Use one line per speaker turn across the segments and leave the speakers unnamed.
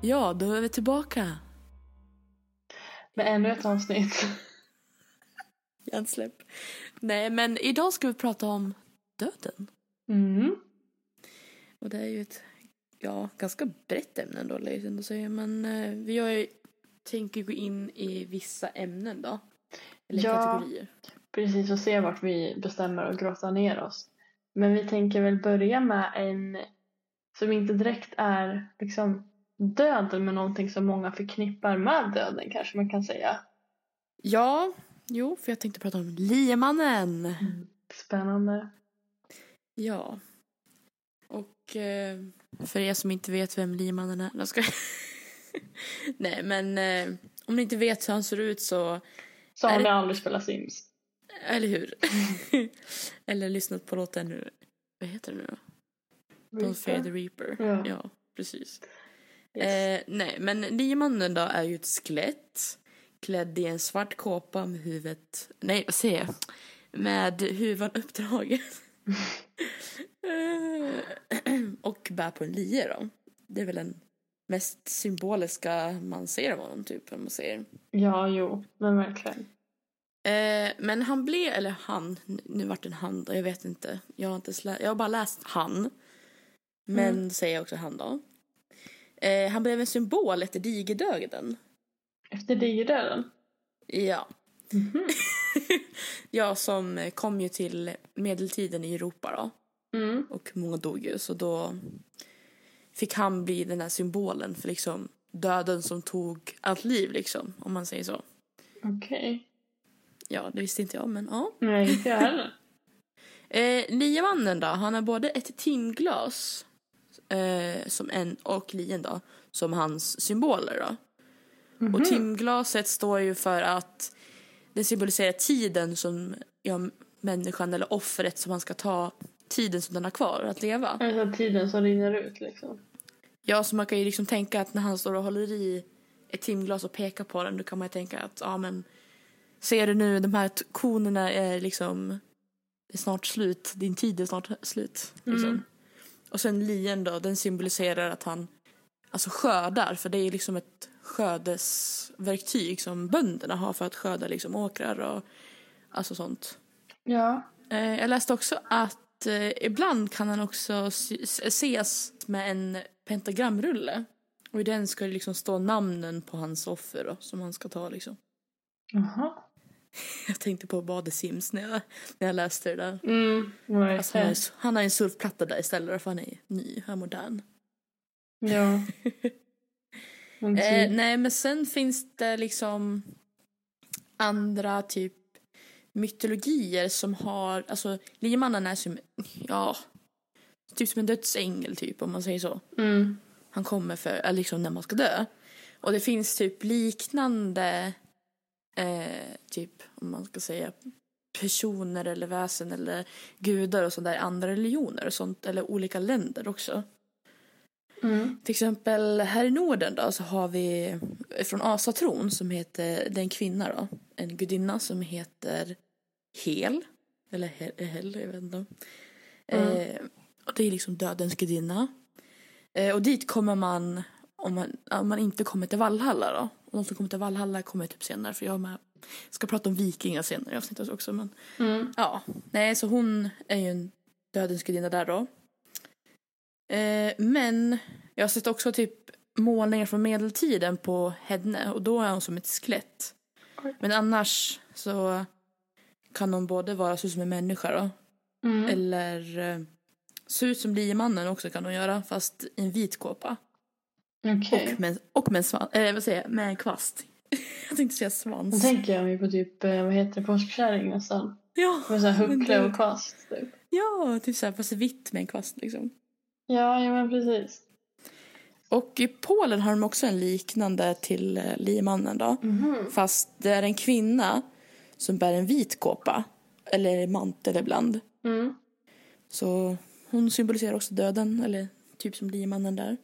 Ja, då är vi tillbaka.
Med ännu ett avsnitt.
Hjärnsläpp. Nej, men idag ska vi prata om döden.
Mm.
Och det är ju ett ja, ganska brett ämne ändå, lär jag ändå säga. Men eh, vi har ju, tänker gå in i vissa ämnen då. Eller
Ja.
kategorier.
Precis, och se vart vi bestämmer och grotta ner oss. Men vi tänker väl börja med en som inte direkt är liksom döden men någonting som många förknippar med döden kanske man kan säga.
Ja, jo, för jag tänkte prata om liemannen.
Spännande.
Ja. Och eh, för er som inte vet vem liemannen är. Jag ska... Nej, men eh, om ni inte vet hur han ser ut så
Så
Är
har
det-
ni aldrig spelat Sims?
Eller hur? Eller lyssnat på låten nu. Vad heter den nu då? Don't fear the reaper.
Ja.
Ja, precis.
Mm. Yes.
Eh, nej, men liemannen då är ju ett skelett klädd i en svart kåpa med huvudet... Nej, vad säger jag? Med huvan uppdragen. Eh, och bär på en lie då. Det är väl den mest symboliska man ser av honom, typ. Om man säger.
Ja, jo, men verkligen.
Eh, men han blev, eller han, nu vart det en han då, jag vet inte. Jag har, inte slä, jag har bara läst han. Men
Mm.
säger jag också han då. Eh, han blev en symbol efter digerdöden.
Efter digerdöden?
Ja.
Mhm.
ja, som eh, kom ju till medeltiden i Europa då.
Mm.
Och många dog ju, så då fick han bli den här symbolen för liksom döden som tog allt liv liksom, om man säger så.
Okej.
Ja, det visste inte jag, men ja.
Nej, inte jag heller.
Eh, liemannen då, han har både ett timglas eh, som en, och lien då, som hans symboler då. Och timglaset står ju för att det symboliserar tiden som ja, människan eller offret som man ska ta, tiden som den har kvar att leva.
Alltså tiden som rinner ut liksom.
Ja, så man kan ju liksom tänka att när han står och håller i ett timglas och pekar på den, då kan man ju tänka att ja men ser du nu, de här t- konerna är liksom det är snart slut, din tid är snart slut. Liksom.
Mm.
Och sen lien då, den symboliserar att han alltså skördar, för det är liksom ett skördesverktyg som bönderna har för att skörda liksom åkrar och alltså sånt.
Ja.
Eh, jag läste också att eh, ibland kan han också sy- s- ses med en pentagramrulle. Och i den ska det liksom stå namnen på hans offer då, som han ska ta liksom.
Jaha.
Jag tänkte på Bad The Sims när jag, när jag läste det där.
Mm,
Alltså, han, har
verkligen.
en, han har en surfplatta där istället för han är ny, han är modern.
Ja. Men
Eh,
typ.
nej men sen finns det liksom andra typ mytologier som har, alltså liemannen är som, ja, typ som en dödsängel typ om man säger så.
Mm.
han kommer för, eller liksom när man ska dö. Och det finns typ liknande, eh, typ om man ska säga personer eller väsen eller gudar och sånt där i andra religioner och sånt, eller olika länder också.
Mm.
Till exempel här i Norden då så har vi från asatron som heter, det är en kvinna då, en gudinna som heter Hel. Eller Hel, Hel jag vet inte. Eh, och det är liksom dödens gudinna. Eh, och dit kommer man om, man om man inte kommer till Valhalla då. Och de som kommer till Valhalla kommer typ senare för jag är med. ska prata om vikingar senare i avsnittet också men
Mm.
Ja, nej så hon är ju en dödens gudinna där då. Eh, men jag har sett också typ målningar från medeltiden på henne och då är hon som ett skelett.
Oj.
Men annars så kan hon både vara så som en människa då,
Mm.
eller eh, se ut som liemannen också kan hon göra fast i en vit kåpa.
Okej.
Och med, och med, en svan, eh, vad säger jag, med en kvast. jag tänkte säga
Då
svans.
tänker jag mig på typ, eh, vad heter det, påskkärring nästan.
Ja,
Med så här
men
huckle
det-
och kast typ.
ja, typ såhär fast vitt med en kvast liksom.
Ja, ja men precis.
Och i Polen har de också en liknande till eh, liemannen då.
Mhm.
Fast det är en kvinna som bär en vit kåpa. Eller mantel ibland.
Mm.
Så hon symboliserar också döden. Eller typ som liemannen där.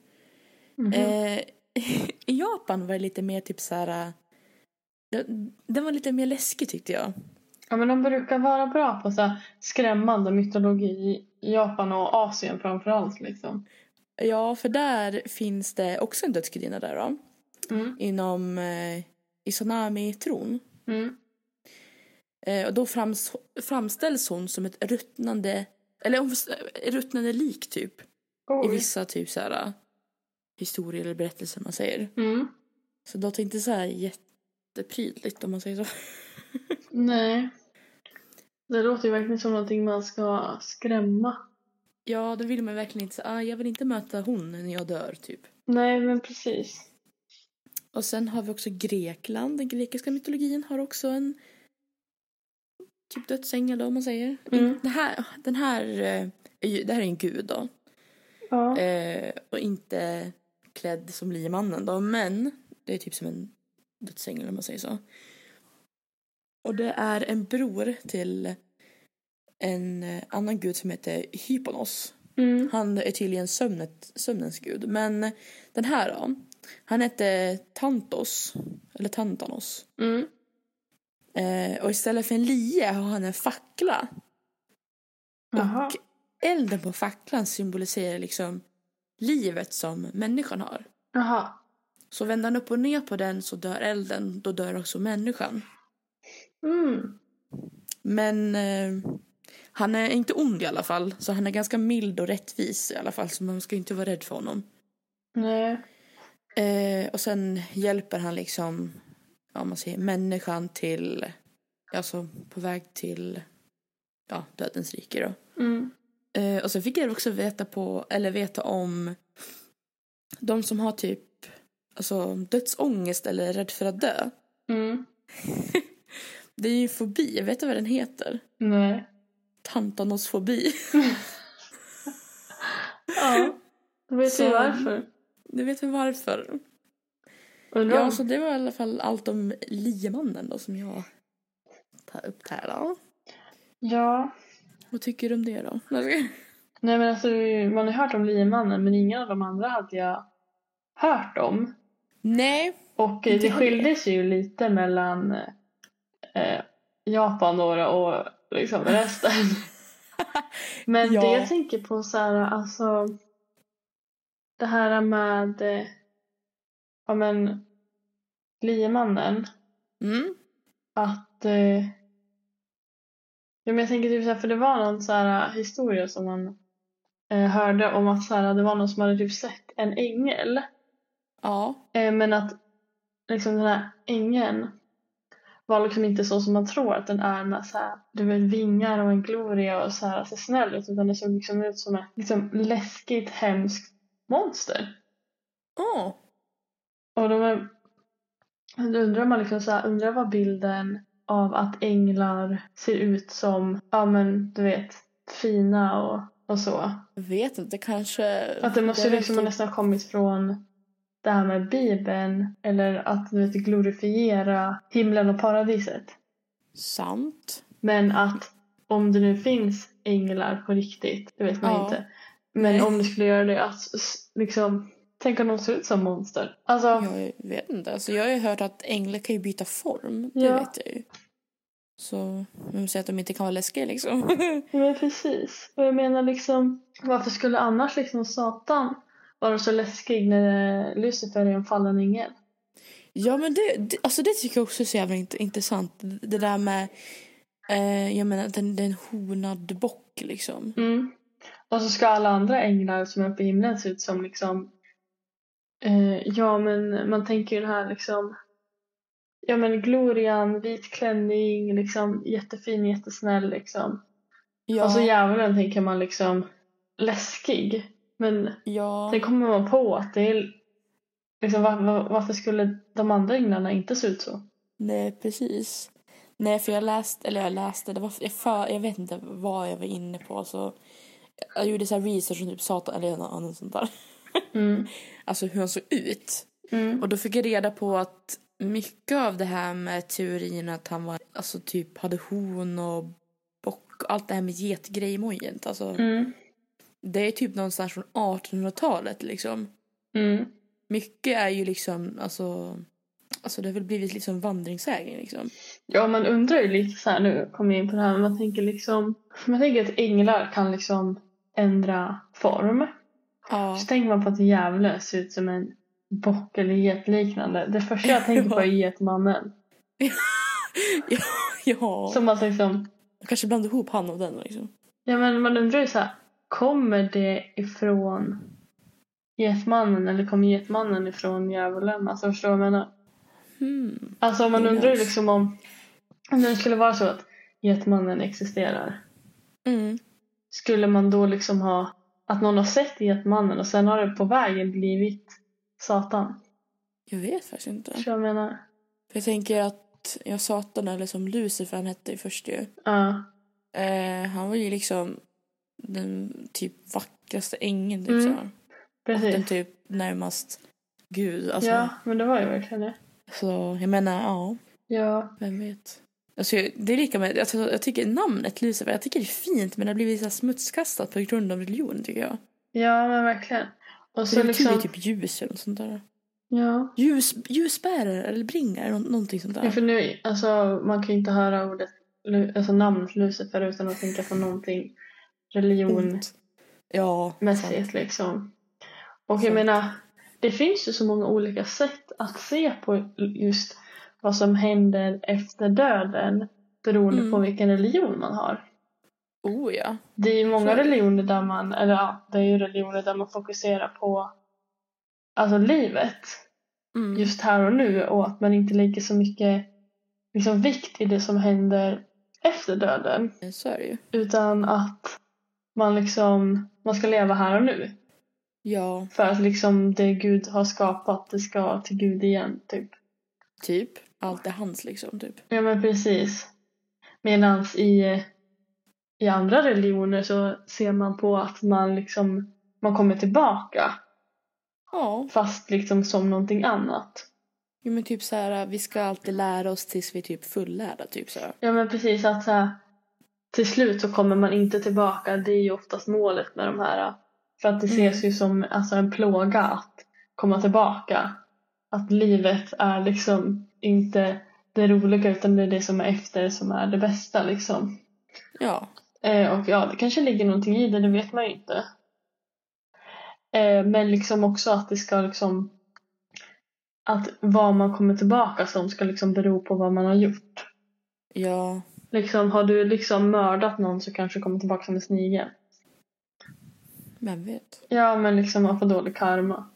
Mhm.
Eh, I Japan var det lite mer typ så här. eh, det- Den var lite mer läskig tyckte jag.
Ja men de brukar vara bra på så här skrämmande mytologi i Japan och Asien framförallt liksom.
Ja, för där finns det också en dödsgudinna där då.
Mm.
Inom eh, Izanami-tron.
Mm.
Eh, och då frams, framställs hon som ett ruttnande, eller hon, ett ruttnande lik typ. I
Oj.
vissa typ så här historier eller berättelser man säger.
Mm.
Så det är inte så här jätteprydligt om man säger så.
Nej. Det låter ju verkligen som någonting man ska skrämma.
Ja, då vill man verkligen inte säga, ah, jag vill inte möta hon när jag dör typ.
Nej, men precis.
Och sen har vi också Grekland. Den grekiska mytologin har också en typ dödsängel då, om man säger.
Mm.
Den här, den här, eh, är ju- det här är en gud då.
Ja.
Eh, och inte klädd som liemannen då, men det är typ som en dödsängel om man säger så. Och det är en bror till en eh, annan gud som heter Hyponos.
Mm.
Han är tydligen sömnet, sömnens gud. Men den här då. Han hette Tantos. Eller Tantanos.
Mm.
Eh, och istället för en lie har han en fackla.
Jaha.
Och elden på facklan symboliserar liksom livet som människan har.
Jaha.
Så vänder han upp och ner på den så dör elden. Då dör också människan.
Mm.
Men eh, han är inte ond i alla fall. Så han är ganska mild och rättvis i alla fall. Så man ska inte vara rädd för honom.
Nej.
Eh, och sen hjälper han liksom, ja man säger människan till, alltså på väg till, ja dödens rike då.
Mm.
Eh, och sen fick jag också veta på, eller veta om de som har typ, alltså dödsångest eller är rädd för att dö.
Mm.
Det är ju en fobi, vet du vad den heter?
Nej.
Tantanosfobi.
Ja. Då vet vi
Så-
varför.
Du vet väl varför?
Undrar
Ja,
om-
så det var i alla fall allt om liemannen då som jag tar upp här då.
ja.
Vad tycker du om det då?
Nej men alltså man har hört om liemannen men ingen av de andra hade jag hört om.
Nej,
Och eh,
Inte
det
heller.
skildes ju lite mellan eh, Japan då och liksom resten. Men
Ja.
det jag tänker på så här, alltså det här med eh, ja men liemannen
Mm.
att eh, ja, men jag tänker typ så här, för det var någon så här eh, historia som man eh, hörde om att så här, det var någon som hade typ sett en ängel
Ja.
eh, men att liksom den här ängeln var liksom inte så som man tror att den är med så här, du vet vingar och en gloria och så här ser snäll ut utan det såg liksom ut som ett liksom läskigt hemskt monster
Åh.
Och de är, då undrar man liksom så här, undrar vad bilden av att änglar ser ut som, ja men du vet, fina och, och så.
Jag vet inte, kanske...
Att det måste ju
är
liksom
typ-
nästan ha kommit från det här med bibeln eller att du vet glorifiera himlen och paradiset.
Sant.
Men att om det nu finns änglar på riktigt, det vet man
Ja.
inte. Men
Nej.
om det skulle göra det, att s- s- liksom, tänk om de ser ut som monster. Alltså,
Jag vet inte. Alltså, jag har ju hört att änglar kan ju byta form. Det
Ja.
vet jag ju. Så vem säger att de inte kan vara läskiga liksom?
Ja, men precis. Och jag menar liksom, varför skulle annars liksom Satan vara så läskig när Lucifer är en fallen ängel?
ja men det, det, alltså, det tycker jag också är så jävla int- intressant. Det där med... Eh, jag menar, att den, den honad bock liksom.
Mm. Och så ska alla andra änglar som är uppe i himlen se ut som liksom, eh, ja men man tänker ju den här liksom, ja men glorian, vit klänning, liksom jättefin, jättesnäll liksom.
Ja,
Och så djävulen tänker man liksom läskig. Men
ja.
Det kommer man på att det är liksom, var, var, varför skulle de andra änglarna inte se ut så?
Nej, precis. Nej, för jag läste, eller jag läste, det var, jag, för, jag vet inte vad jag var inne på. Så jag gjorde så här research om typ Satan eller något annat sånt där.
Mm.
Alltså hur han såg ut.
Mm.
Och då fick jag reda på att mycket av det här med teorin att han var, alltså typ hade horn och bock och allt det här med getgrejmojent. Alltså
Mm.
det är typ någonstans från 1800-talet liksom.
Mm.
Mycket är ju liksom, alltså, alltså det har väl blivit liksom vandringssägen liksom.
Ja, man undrar ju lite så här nu, kommer jag in på det här, men man tänker liksom, man tänker att änglar kan liksom ändra form.
Ja.
Så tänker man på att djävulen ser ut som en bock eller getliknande. Det första jag tänker på är getmannen.
ja.
Som att liksom,
Jag kanske blandade ihop han och den liksom.
ja men man undrar ju så här, kommer det ifrån getmannen eller kommer getmannen ifrån djävulen? Alltså förstår du vad jag menar?
Hmm.
Alltså om man
Who
undrar ju
knows?
liksom om, om det skulle vara så att getmannen existerar.
Mm.
Skulle man då liksom ha, att någon har sett getmannen och sen har det på vägen blivit Satan?
Jag vet faktiskt inte.
Förstår du vad jag menar?
För jag tänker att jag Satan eller som Lucifer han hette ju först ju.
Ja.
Eh, han var ju liksom den typ vackraste ängeln typ
Mm,
så här.
Precis.
Den typ närmast Gud alltså.
Ja, men det var ju verkligen det.
Så jag menar ja,
Ja,
vem vet. Alltså, jag- det är lika med, alltså, jag tycker namnet Lucifer, jag tycker det är fint men det har blivit så här smutskastat på grund av religion tycker jag.
ja men verkligen. Och
Så
så
det betyder
liksom,
ju typ ljus eller något sånt där.
ja.
Ljus, ljusbärare eller bringare, nå- någonting sånt där.
ja. För nu, alltså man kan ju inte höra ordet, Lu- alltså namnet Lucifer utan att tänka på någonting religionmässigt
Ont. Ja, sant.
liksom. Och jag
Sant.
menar, det finns ju så många olika sätt att se på just vad som händer efter döden beroende
Mm.
på vilken religion man har.
Oh ja.
Det är ju många
Så är det.
religioner där man, eller ja, det är ju religioner där man fokuserar på alltså livet
Mm.
just här och nu och att man inte lägger så mycket liksom, vikt i det som händer efter döden
Så är det ju.
utan att man liksom man ska leva här och nu
Ja,
för att liksom det Gud har skapat det ska till Gud igen typ.
typ. Allt är hans liksom, typ.
Ja men precis. Medans i, i andra religioner så ser man på att man liksom man kommer tillbaka
Ja,
fast liksom som någonting annat.
jo, men typ så här, vi ska alltid lära oss tills vi är typ fullärda, typ så här.
Ja men precis att så här, till slut så kommer man inte tillbaka. Det är ju oftast målet med de här. För att det
Mm.
ses ju som alltså, en plåga att komma tillbaka. Att livet är liksom inte det roliga utan det är det som är efter som är det bästa liksom.
Ja,
Eh, och ja, det kanske ligger någonting i det, det vet man ju inte. Eh, men liksom också att det ska liksom att vad man kommer tillbaka som ska liksom bero på vad man har gjort.
ja,
Liksom, har du liksom mördat någon så kanske du kommer tillbaka som en snigel.
vem vet.
Ja, men liksom man får dålig karma.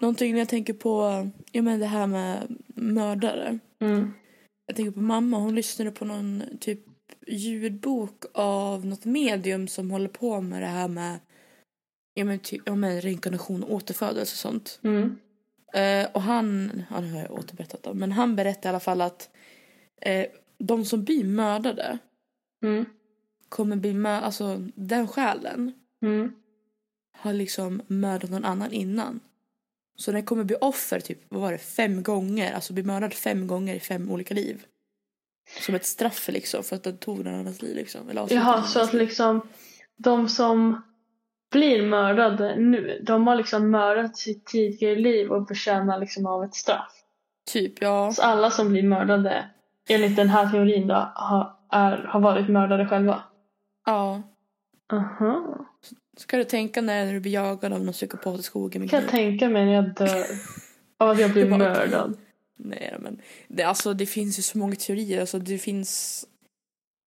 Någonting när jag tänker på, ja men det här med mördare.
Mm.
Jag tänker på mamma, hon lyssnade på någon typ ljudbok av något medium som håller på med det här med ja men, typ, ja, men reinkarnation och återfödelse och sånt.
Mm.
Eh, och han, ja, det har jag återberättat om, men han berättade i alla fall att eh, de som blir mördade
Mm.
kommer bli med, alltså den själen
Mm.
har liksom mördat någon annan innan. Så den kommer bli offer typ, vad var det, fem gånger, alltså bli mördad fem gånger i fem olika liv. Som ett straff liksom för att den tog någon annans liv liksom. Eller avslutade någon
Jaha,
annans
så att
liv.
liksom de som blir mördade nu, de har liksom mördat sitt tidigare liv och förtjänar liksom av ett straff.
Typ, ja.
Så alla som blir mördade, enligt den här teorin då, har, är, har varit mördade själva.
ja.
Aha.
Ska du tänka när du blir jagad av någon psykopat i skogen med
kan jag
kniv?
tänka mig när jag dör av att jag
Det
blir
var-
mördad.
Nej, men det, alltså, det finns ju så många teorier. Alltså, det finns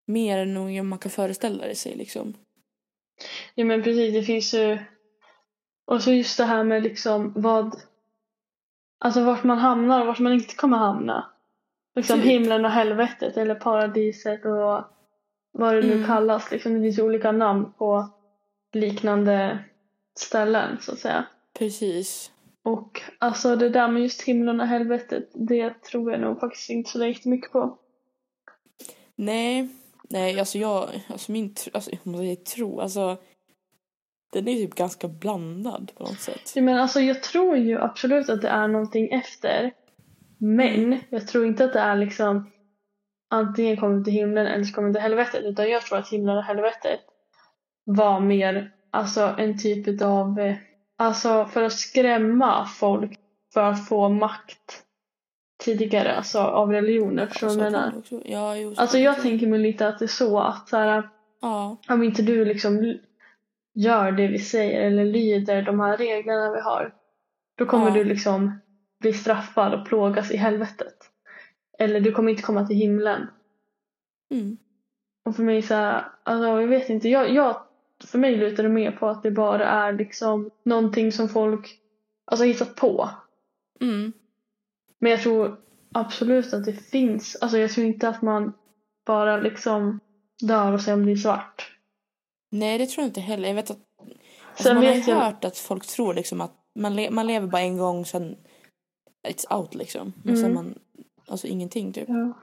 mer än någon man kan föreställa sig. Liksom.
Ja men precis, det finns ju... Och så just det här med liksom vad... Alltså vart man hamnar och vart man inte kommer hamna. Liksom
Typ.
himlen och helvetet eller paradiset och vad det nu
Mm.
kallas. Liksom, det finns ju olika namn på liknande ställen så att säga.
Precis.
Och alltså det där med just himlen och helvetet det tror jag nog faktiskt inte så jättemycket på.
Nej, nej alltså jag... Alltså min tro... Alltså, jag måste säga tro alltså, den är typ ganska blandad på något sätt.
Ja, Men alltså jag tror ju absolut att det är någonting efter. Men jag tror inte att det är liksom antingen kommer till himlen eller så kommer till helvetet. Utan jag tror att himlen och helvetet var mer alltså en typ av eh, alltså för att skrämma folk för att få makt tidigare alltså av religioner. Förstår du vad jag menar?
Alltså, Också. Ja, jo, så
Alltså jag
också.
tänker mig lite att det är så att så här,
Ja,
om inte du liksom gör det vi säger eller lyder de här reglerna vi har då kommer
Ja.
du liksom bli straffad och plågas i helvetet. Eller du kommer inte komma till himlen.
Mm.
Och för mig så här, alltså jag vet inte, jag, jag, för mig lutar det mer på att det bara är liksom någonting som folk alltså, har hittat på.
Mm.
Men jag tror absolut att det finns, alltså jag tror inte att man bara liksom dör och sen blir svart.
Nej, det tror jag inte heller. Jag vet att, alltså,
Sen
man har
vet
ju
jag-
hört att folk tror liksom att man, le- man lever bara en gång, sen it's out liksom. Men sen
Mm.
man, alltså ingenting typ.
Ja.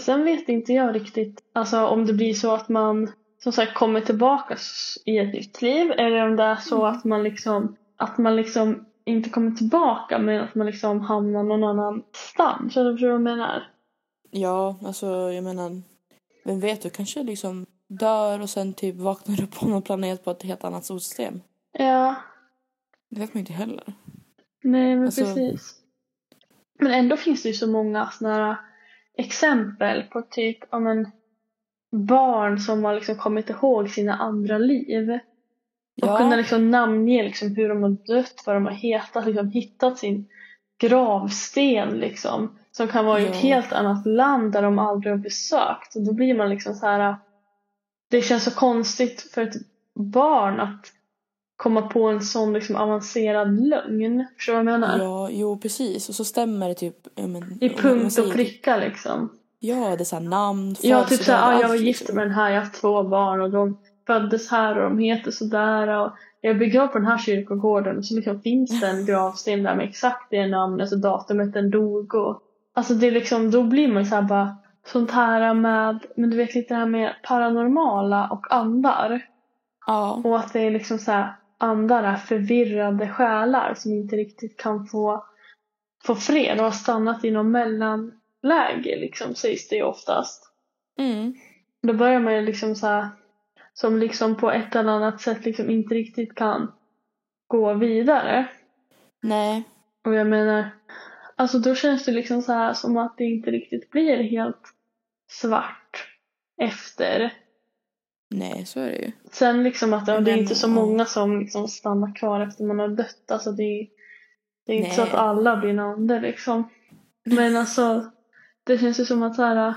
Sen vet inte jag riktigt alltså, om det blir så att man som sagt kommer tillbaka s- i ett nytt liv eller om det är så att man liksom att man liksom inte kommer tillbaka men att man liksom hamnar någon annanstans. Förstår du vad jag menar?
Ja, alltså jag menar, vem vet, du kanske liksom dör och sen typ vaknar upp på någon planet på ett helt annat solsystem.
Ja,
Det vet man inte heller.
nej men
Alltså-
precis. Men ändå finns det ju så många såna här exempel på typ ja, men, barn som har liksom kommit ihåg sina andra liv. Och kunna liksom namnge liksom hur de har dött, vad de har hetat, liksom hittat sin gravsten liksom. Som kan vara i ett
Ja.
helt annat land där de aldrig har besökt. Och då blir man liksom så här. Det känns så konstigt för ett barn att komma på en sån liksom avancerad lögn. Förstår du vad jag menar?
Ja, jo precis. Och så stämmer det typ... ja, Men,
I
om man- om man
punkt och
säger typ-
pricka liksom.
Ja, det är såhär namn,
Ja, typ
födelsedag,
såhär, ah, jag
allt
var
liksom.
gift med den här, jag har haft två barn och de föddes här och de heter sådär och jag är begravd på den här kyrkogården och så liksom finns det en gravsten där med exakt det namnet och datumet den dog och alltså det är liksom, då blir man såhär bara sånt här med, men du vet lite det här med paranormala och andar
Ja,
och att det är liksom såhär andar är förvirrade själar som inte riktigt kan få få fred och har stannat i någon mellanläge liksom sägs det ju oftast.
mm.
Då börjar man ju liksom så här, som liksom på ett eller annat sätt liksom inte riktigt kan gå vidare.
Nej.
Och jag menar, alltså då känns det liksom så här som att det inte riktigt blir helt svart efter.
Nej, så är det ju.
Sen liksom att ja, det är
Men,
inte så
ja.
många som liksom stannar kvar efter man har dött. Alltså det är, det är inte så
Nej.
att alla blir en ande liksom. Men alltså, det känns ju som att så här,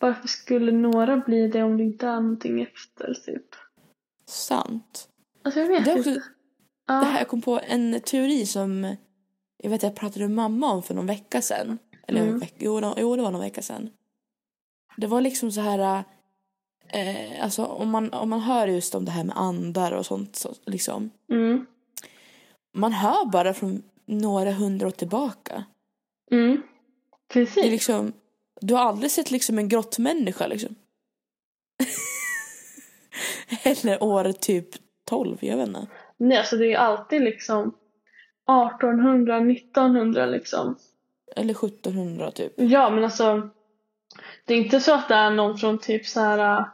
varför skulle några bli det om det inte är någonting efter typ?
Sant.
Alltså jag vet
Det, är också,
inte. Ja.
det här jag kom på en teori som jag vet jag pratade med mamma om för någon vecka sedan. Eller
Mm.
en veck, jo, nå- jo, det var någon vecka sedan. Det var liksom så här... Eh, alltså om man, om man hör just om det här med andar och sånt så, liksom.
Mm.
Man hör bara från några hundra år tillbaka.
Mm.
Det är
Precis.
liksom, du har aldrig sett liksom en grottmänniska liksom. Eller år typ 12, jag vet inte.
Nej, alltså det är ju alltid liksom 1800, 1900 liksom.
Eller 1700 typ.
Ja, men alltså det är inte så att det är någon från typ så här äh,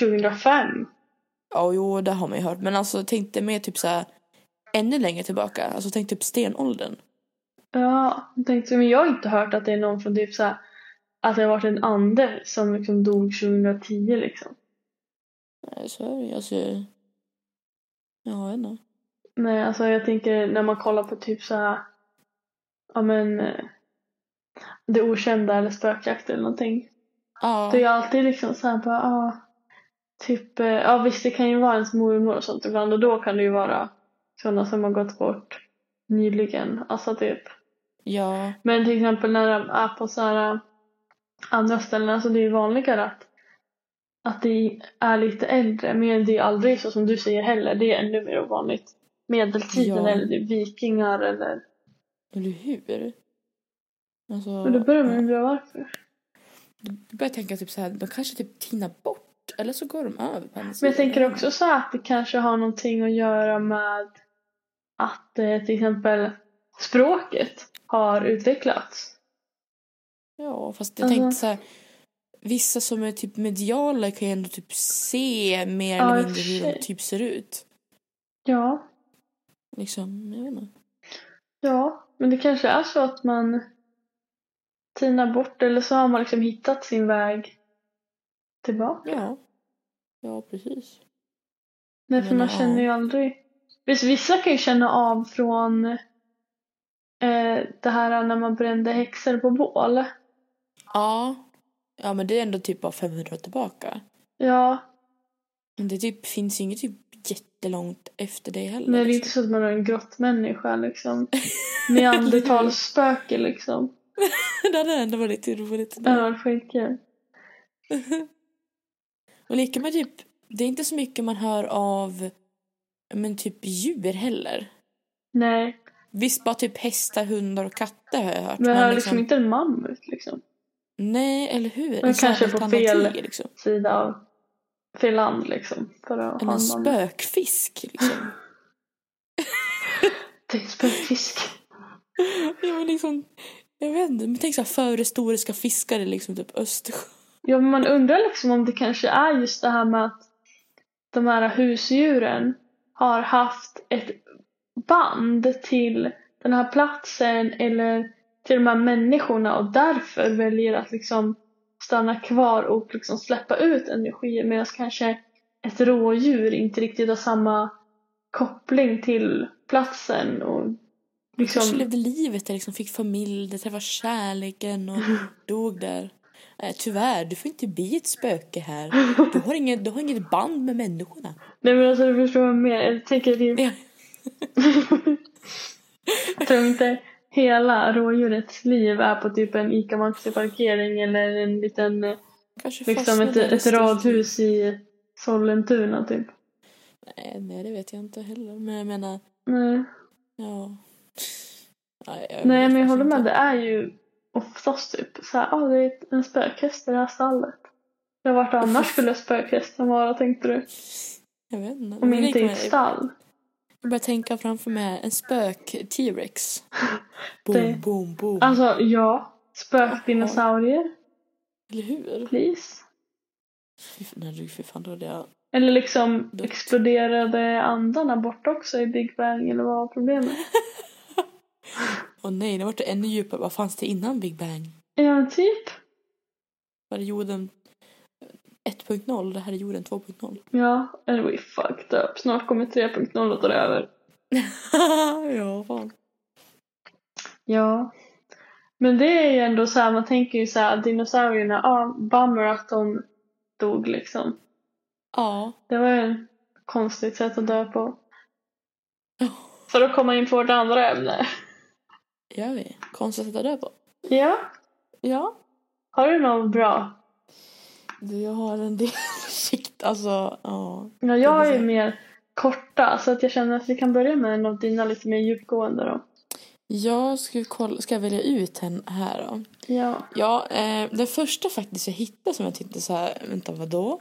2005.
Ja, jo, det har man ju hört. Men alltså tänk dig mer typ så här ännu längre tillbaka. Alltså tänk typ stenåldern.
Ja, jag tänkte, men jag har inte hört att det är någon från typ så här att det har varit en ande som liksom dog 2010 liksom.
Nej, så är det ju. Alltså, ja, jag vet inte.
Nej, alltså jag tänker när man kollar på typ så här ja men eh, det okända eller spökjakt eller någonting. Det är
Ja,
ju alltid liksom så här bara, ja, typ, eh, ja visst det kan ju vara ens mormor och sånt ibland och då kan det ju vara sådana som har gått bort nyligen, alltså typ.
ja,
Men till exempel när de är på så här eh, andra ställen, alltså det är ju vanligare att att det är lite äldre, men det är aldrig så som du säger heller, det är ännu mer ovanligt. Medeltiden
Ja.
eller det är vikingar eller...
eller hur? Alltså,
Och då börjar man undra varför.
jag börjar tänka typ så här, de kanske typ tinar bort. Eller så går de över på andra
Men jag
sidan.
tänker också så här att det kanske har någonting att göra med att eh, till exempel språket har utvecklats.
Ja, fast jag
Alltså-
tänkte så här. Vissa som är typ mediala kan ju ändå typ se mer
Ja, i
eller
och
mindre
för
hur de
sig.
typ ser ut.
Ja,
Liksom, jag vet inte.
ja, men det kanske är så att man tinar bort eller så har man liksom hittat sin väg tillbaka.
Ja. Ja, precis.
Nej, för
Men,
man
ja.
känner ju aldrig... Visst, vissa kan ju känna av från eh, det här när man brände häxor på bål.
Ja. Ja, men det är ändå typ bara 500 år tillbaka.
Ja,
Men det typ, finns ju inget typ jättelångt efter det heller.
nej det är
liksom.
inte så att man är en grottmänniska liksom. Neandertalsspöke liksom.
det hade ändå varit roligt.
Det var skitkul.
Och lika med typ, det är inte så mycket man hör av men typ djur heller.
Nej,
Visst, bara typ hästar, hundar och katter har jag hört.
men jag har liksom inte en mammut liksom.
Nej, eller hur?
Men kanske
särskilt
på
bland
fel-
natur, liksom.
Sida av fel land liksom. För att
Än
ha
en
en mammut.
spökfisk liksom.
Det är spökfisk.
ja, men liksom. Jag vet inte, men tänk så här förhistoriska fiskare liksom typ Östersjön.
Ja, men man undrar liksom om det kanske är just det här med att de här husdjuren har haft ett band till den här platsen eller till de här människorna och därför väljer att liksom stanna kvar och liksom släppa ut energi medan kanske ett rådjur inte riktigt har samma koppling till platsen och liksom...
Kanske levde livet där liksom, fick familj, det träffade kärleken och dog där. Eh, tyvärr, du får inte bli ett spöke här. Du har inget, du har inget band med människorna.
Nej men alltså du förstår vad jag menar. Jag tänker att det är
Ja.
Jag tror inte hela rådjurets liv är på typ en ICA Maxi-parkering eller en liten, eh,
Kanske
liksom
fastnade
ett,
där i
ett
Östersjön.
radhus i Sollentuna typ.
Nej, Eh, nej, det vet jag inte heller. Men jag menar,
Nej,
ja. Nej, jag,
Nej
vet
men jag håller
inte.
med, det är ju oftast typ så här, ah, det är en spökhäst i det här stallet. Ja, vart annars skulle spökhästen vara tänkte du?
Jag vet inte.
Om
Men det
inte i
kommer-
ett stall.
Jag börjar tänka framför mig en spök-T-rex.
Det-
Boom, boom, boom.
Alltså ja, spökdinosaurier,
Eller hur?
please.
Fy, fan, nej, fy fan, då hade jag...
Eller liksom
Dutt.
exploderade andarna bort också i Big Bang eller vad var problemet?
Åh nej, det vart det ännu djupare. Vad fanns det innan Big Bang?
Ja, men typ.
Var det jorden 1.0? Det här är jorden 2.0.
Ja, and we fucked up. Snart kommer 3.0 och tar över.
ja, fan.
Ja. Men det är ju ändå så här, man tänker ju så här, dinosaurierna, ja, ah, bummer att de dog liksom.
Ja.
Det var ju ett konstigt sätt att dö på. För att komma in på vårt andra ämne.
Gör vi? Konstigt att ta död på.
Ja,
Ja.
har du något bra?
Du, jag har en del sikt. Alltså, ja.
Ja, jag
Det
är
vill
ju mer korta så att jag känner att vi kan börja med en av dina lite mer djupgående då.
Jag ska, kolla, ska jag välja ut en här då?
Ja.
Ja, eh, den första faktiskt jag hittade som jag tyckte så här, vänta vadå?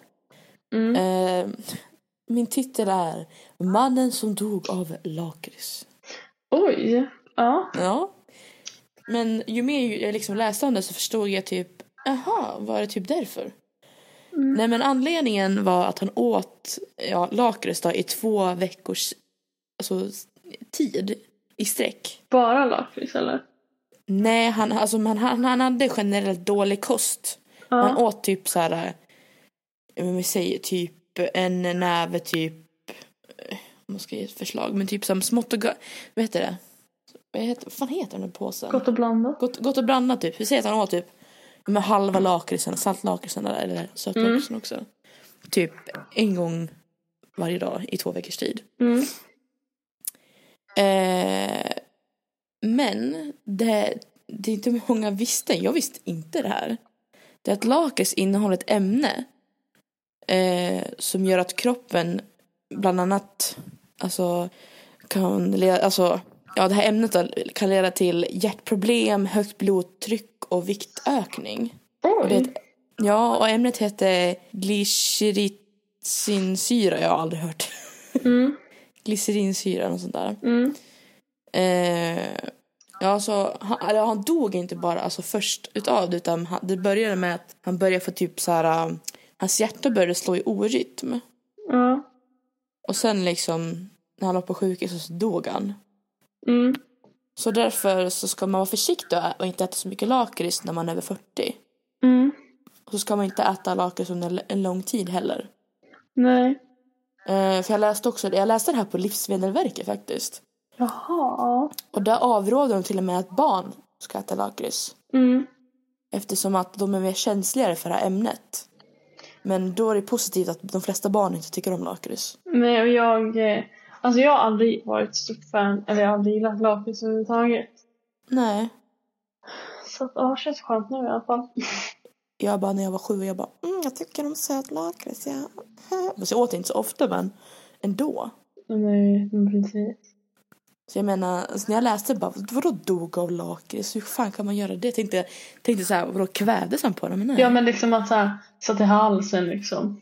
Mm.
Eh, min titel är Mannen som dog av lakrits.
Oj. Ja.
Ja. Men ju mer jag liksom läste om det så förstod jag typ, aha, var det typ därför?
Mm.
Nej men anledningen var att han åt ja, lakrits då, i två veckors alltså, tid i sträck.
Bara lakrits eller?
Nej, han, alltså, han, han, han hade generellt dålig kost. Man
Ja.
åt typ så här, eh, vad vi säger, typ en näve typ, eh, om man ska ge ett förslag, men typ som smått och gott, vad heter det? Vad, heter, vad fan heter den påsen?
Gott och blandat.
Gott, gott och blandat typ. Vi säger att han åt typ med halva lakritsen, saltlakritsen eller-
Mm.
eller sötlakritsen också. Typ en gång varje dag i två veckors tid.
Mm.
Eh, men det, det är inte många visste, jag visste inte det här. Det är att lakrits innehåller ett ämne eh, som gör att kroppen bland annat alltså, kan leda, alltså, ja, det här ämnet då, kan leda till hjärtproblem, högt blodtryck och viktökning. Och det är
Oj.
ett, ja, och ämnet heter glycerinsyra, jag har aldrig hört.
Mm.
Glycerinsyra, något sånt där.
Mm.
Eh, ja, alltså, han, eller han dog inte bara alltså, först utav det utan han, det började med att han började få typ så här. um, Hans hjärta började slå i orytm.
Ja.
Och sen liksom när han var på sjukhus så dog han.
Mm.
Så därför så ska man vara försiktig och ä- och inte äta så mycket lakrits när man är över 40.
Mm.
Och så ska man inte äta lakrits under l- en lång tid heller.
Nej.
Eh, för jag läste också, jag läste det här på Livsmedelverket faktiskt.
Jaha, ja.
Och där avråder de till och med att barn ska äta lakrits.
Mm.
Eftersom att de är mer känsligare för det här ämnet. Men då är det positivt att de flesta barn inte tycker om lakrits.
Nej, och jag... eh, Alltså jag har aldrig varit ett stort fan, eller jag har aldrig gillat lakrits överhuvudtaget.
Nej.
Så att, ja, känns skönt nu i alla fall.
Jag bara när jag var sju, jag bara mm, jag tycker om söt lakrits. Jag... Fast jag åt inte så ofta men ändå.
Nej, men precis.
Så jag menar, alltså när jag läste bara vadå dog av lakrits? Hur fan kan man göra det? Jag tänkte, tänkte så här, vadå kvävdes han på den? Men nej.
Ja, men liksom att så här, satt i halsen liksom.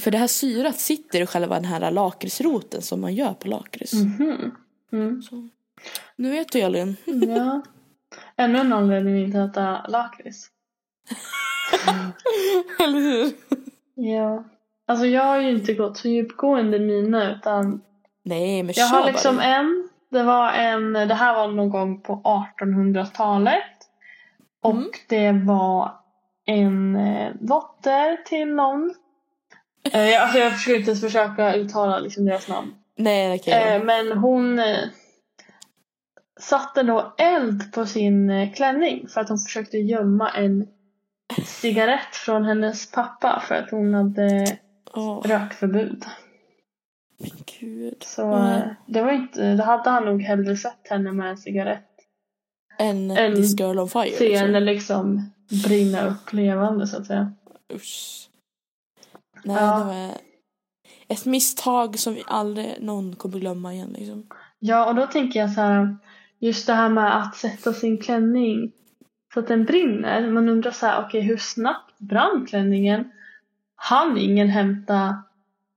För det här syrat sitter i själva den här lakritsroten som man gör på lakrits.
Mhm. Mm.
Så. Nu vet du Elin.
Ja. Ännu en anledning att inte äta lakrits.
Eller hur?
Ja. Alltså jag har ju inte gått så djupgående i mina utan
Nej men
jag
kör
har liksom
bara.
en. Det var en, det här var någon gång på 1800-talet. Och
Mm.
det var en eh, dotter till någon. Eh, jag- alltså jag skulle inte ens försöka uttala liksom deras namn.
Nej det kan jag
Eh, men hon eh, satte då eld på sin eh, klänning för att hon försökte gömma en cigarett från hennes pappa för att hon hade
Åh
rökförbud.
men gud.
Så
Mm.
eh, det var inte, då hade han nog hellre sett henne med en cigarett
En
En
This Girl on Fire.
se henne
liksom.
liksom brinna upp levande så att säga.
Usch. Nej
Ja.
det var ett misstag som vi aldrig någon kommer glömma igen liksom.
Ja och då tänker jag så här just det här med att sätta sin klänning så att den brinner. Man undrar så här okej hur snabbt brann klänningen? Han ingen hämta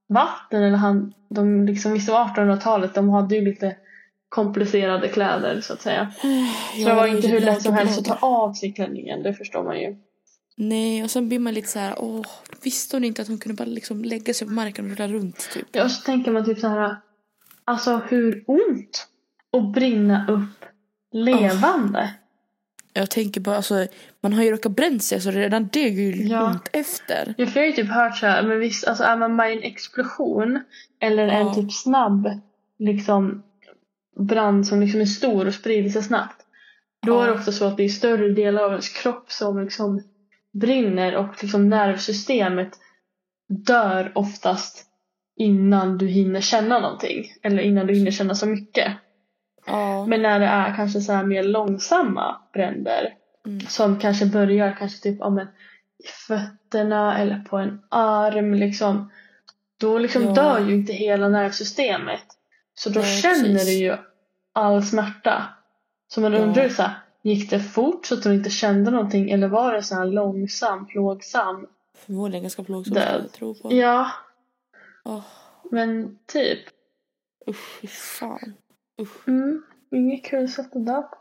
vatten eller han, de liksom visst det var 1800-talet de hade ju lite komplicerade kläder så att säga. Så det var ju inte
typ
hur lätt som helst att ta av sig klänningen, det förstår man ju.
Nej och sen blir man lite så här, åh visste hon inte att hon kunde bara liksom lägga sig på marken och rulla runt typ.
Ja, och så tänker man typ så här. Alltså hur ont att brinna upp levande.
Jag tänker bara alltså man har ju råkat bränt sig så redan det gör ju
Ja.
ont efter.
Ja, för jag har ju typ hört så här, men visst, alltså är man med i en explosion eller en
Ja.
typ snabb liksom brand som liksom är stor och sprider sig snabbt. Då
Ja.
är det ofta så att det är större delar av ens kropp som liksom brinner och liksom nervsystemet dör oftast innan du hinner känna någonting. Eller innan du hinner känna så mycket.
Ja.
Men när det är kanske så här mer långsamma bränder
Mm.
som kanske börjar kanske typ ja, men, i fötterna eller på en arm liksom. Då liksom
Ja.
dör ju inte hela nervsystemet. Så då
Nej,
känner
precis.
du ju all smärta. Så man
Ja.
undrar ju så här, gick det fort så att du inte kände någonting eller var det så här långsam, plågsam?
Förmodligen ganska plågsamt
Död.
skulle jag tro på.
Ja,
Åh,
men typ.
usch fy fan. Usch.
Mm, inget kul sätt att dö på.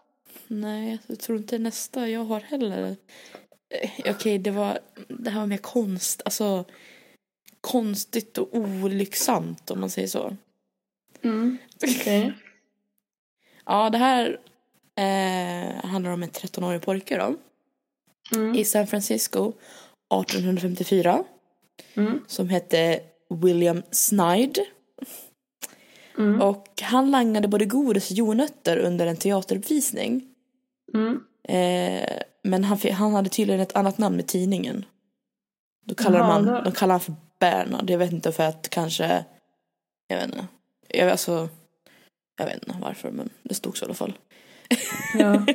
Nej, jag tror inte nästa jag har heller. Eh, Okej, det var det här var mer konst, alltså konstigt och olycksamt om man säger så.
Mm, okej.
Ja, det här eh, handlar om en 13-årig pojke då
Mm,
i San Francisco 1854
mm,
som hette William Snide
mm,
och han langade både godis och jordnötter under en teateruppvisning.
mm.
Eh, men han, fi- han hade tydligen ett annat namn i tidningen. Då kallar
Jaha,
man,
då-
de kallar han för Bernard. Jag vet inte för att kanske, jag vet inte. Jag, vet alltså, jag vet inte varför men det stod så i alla fall.
Ja,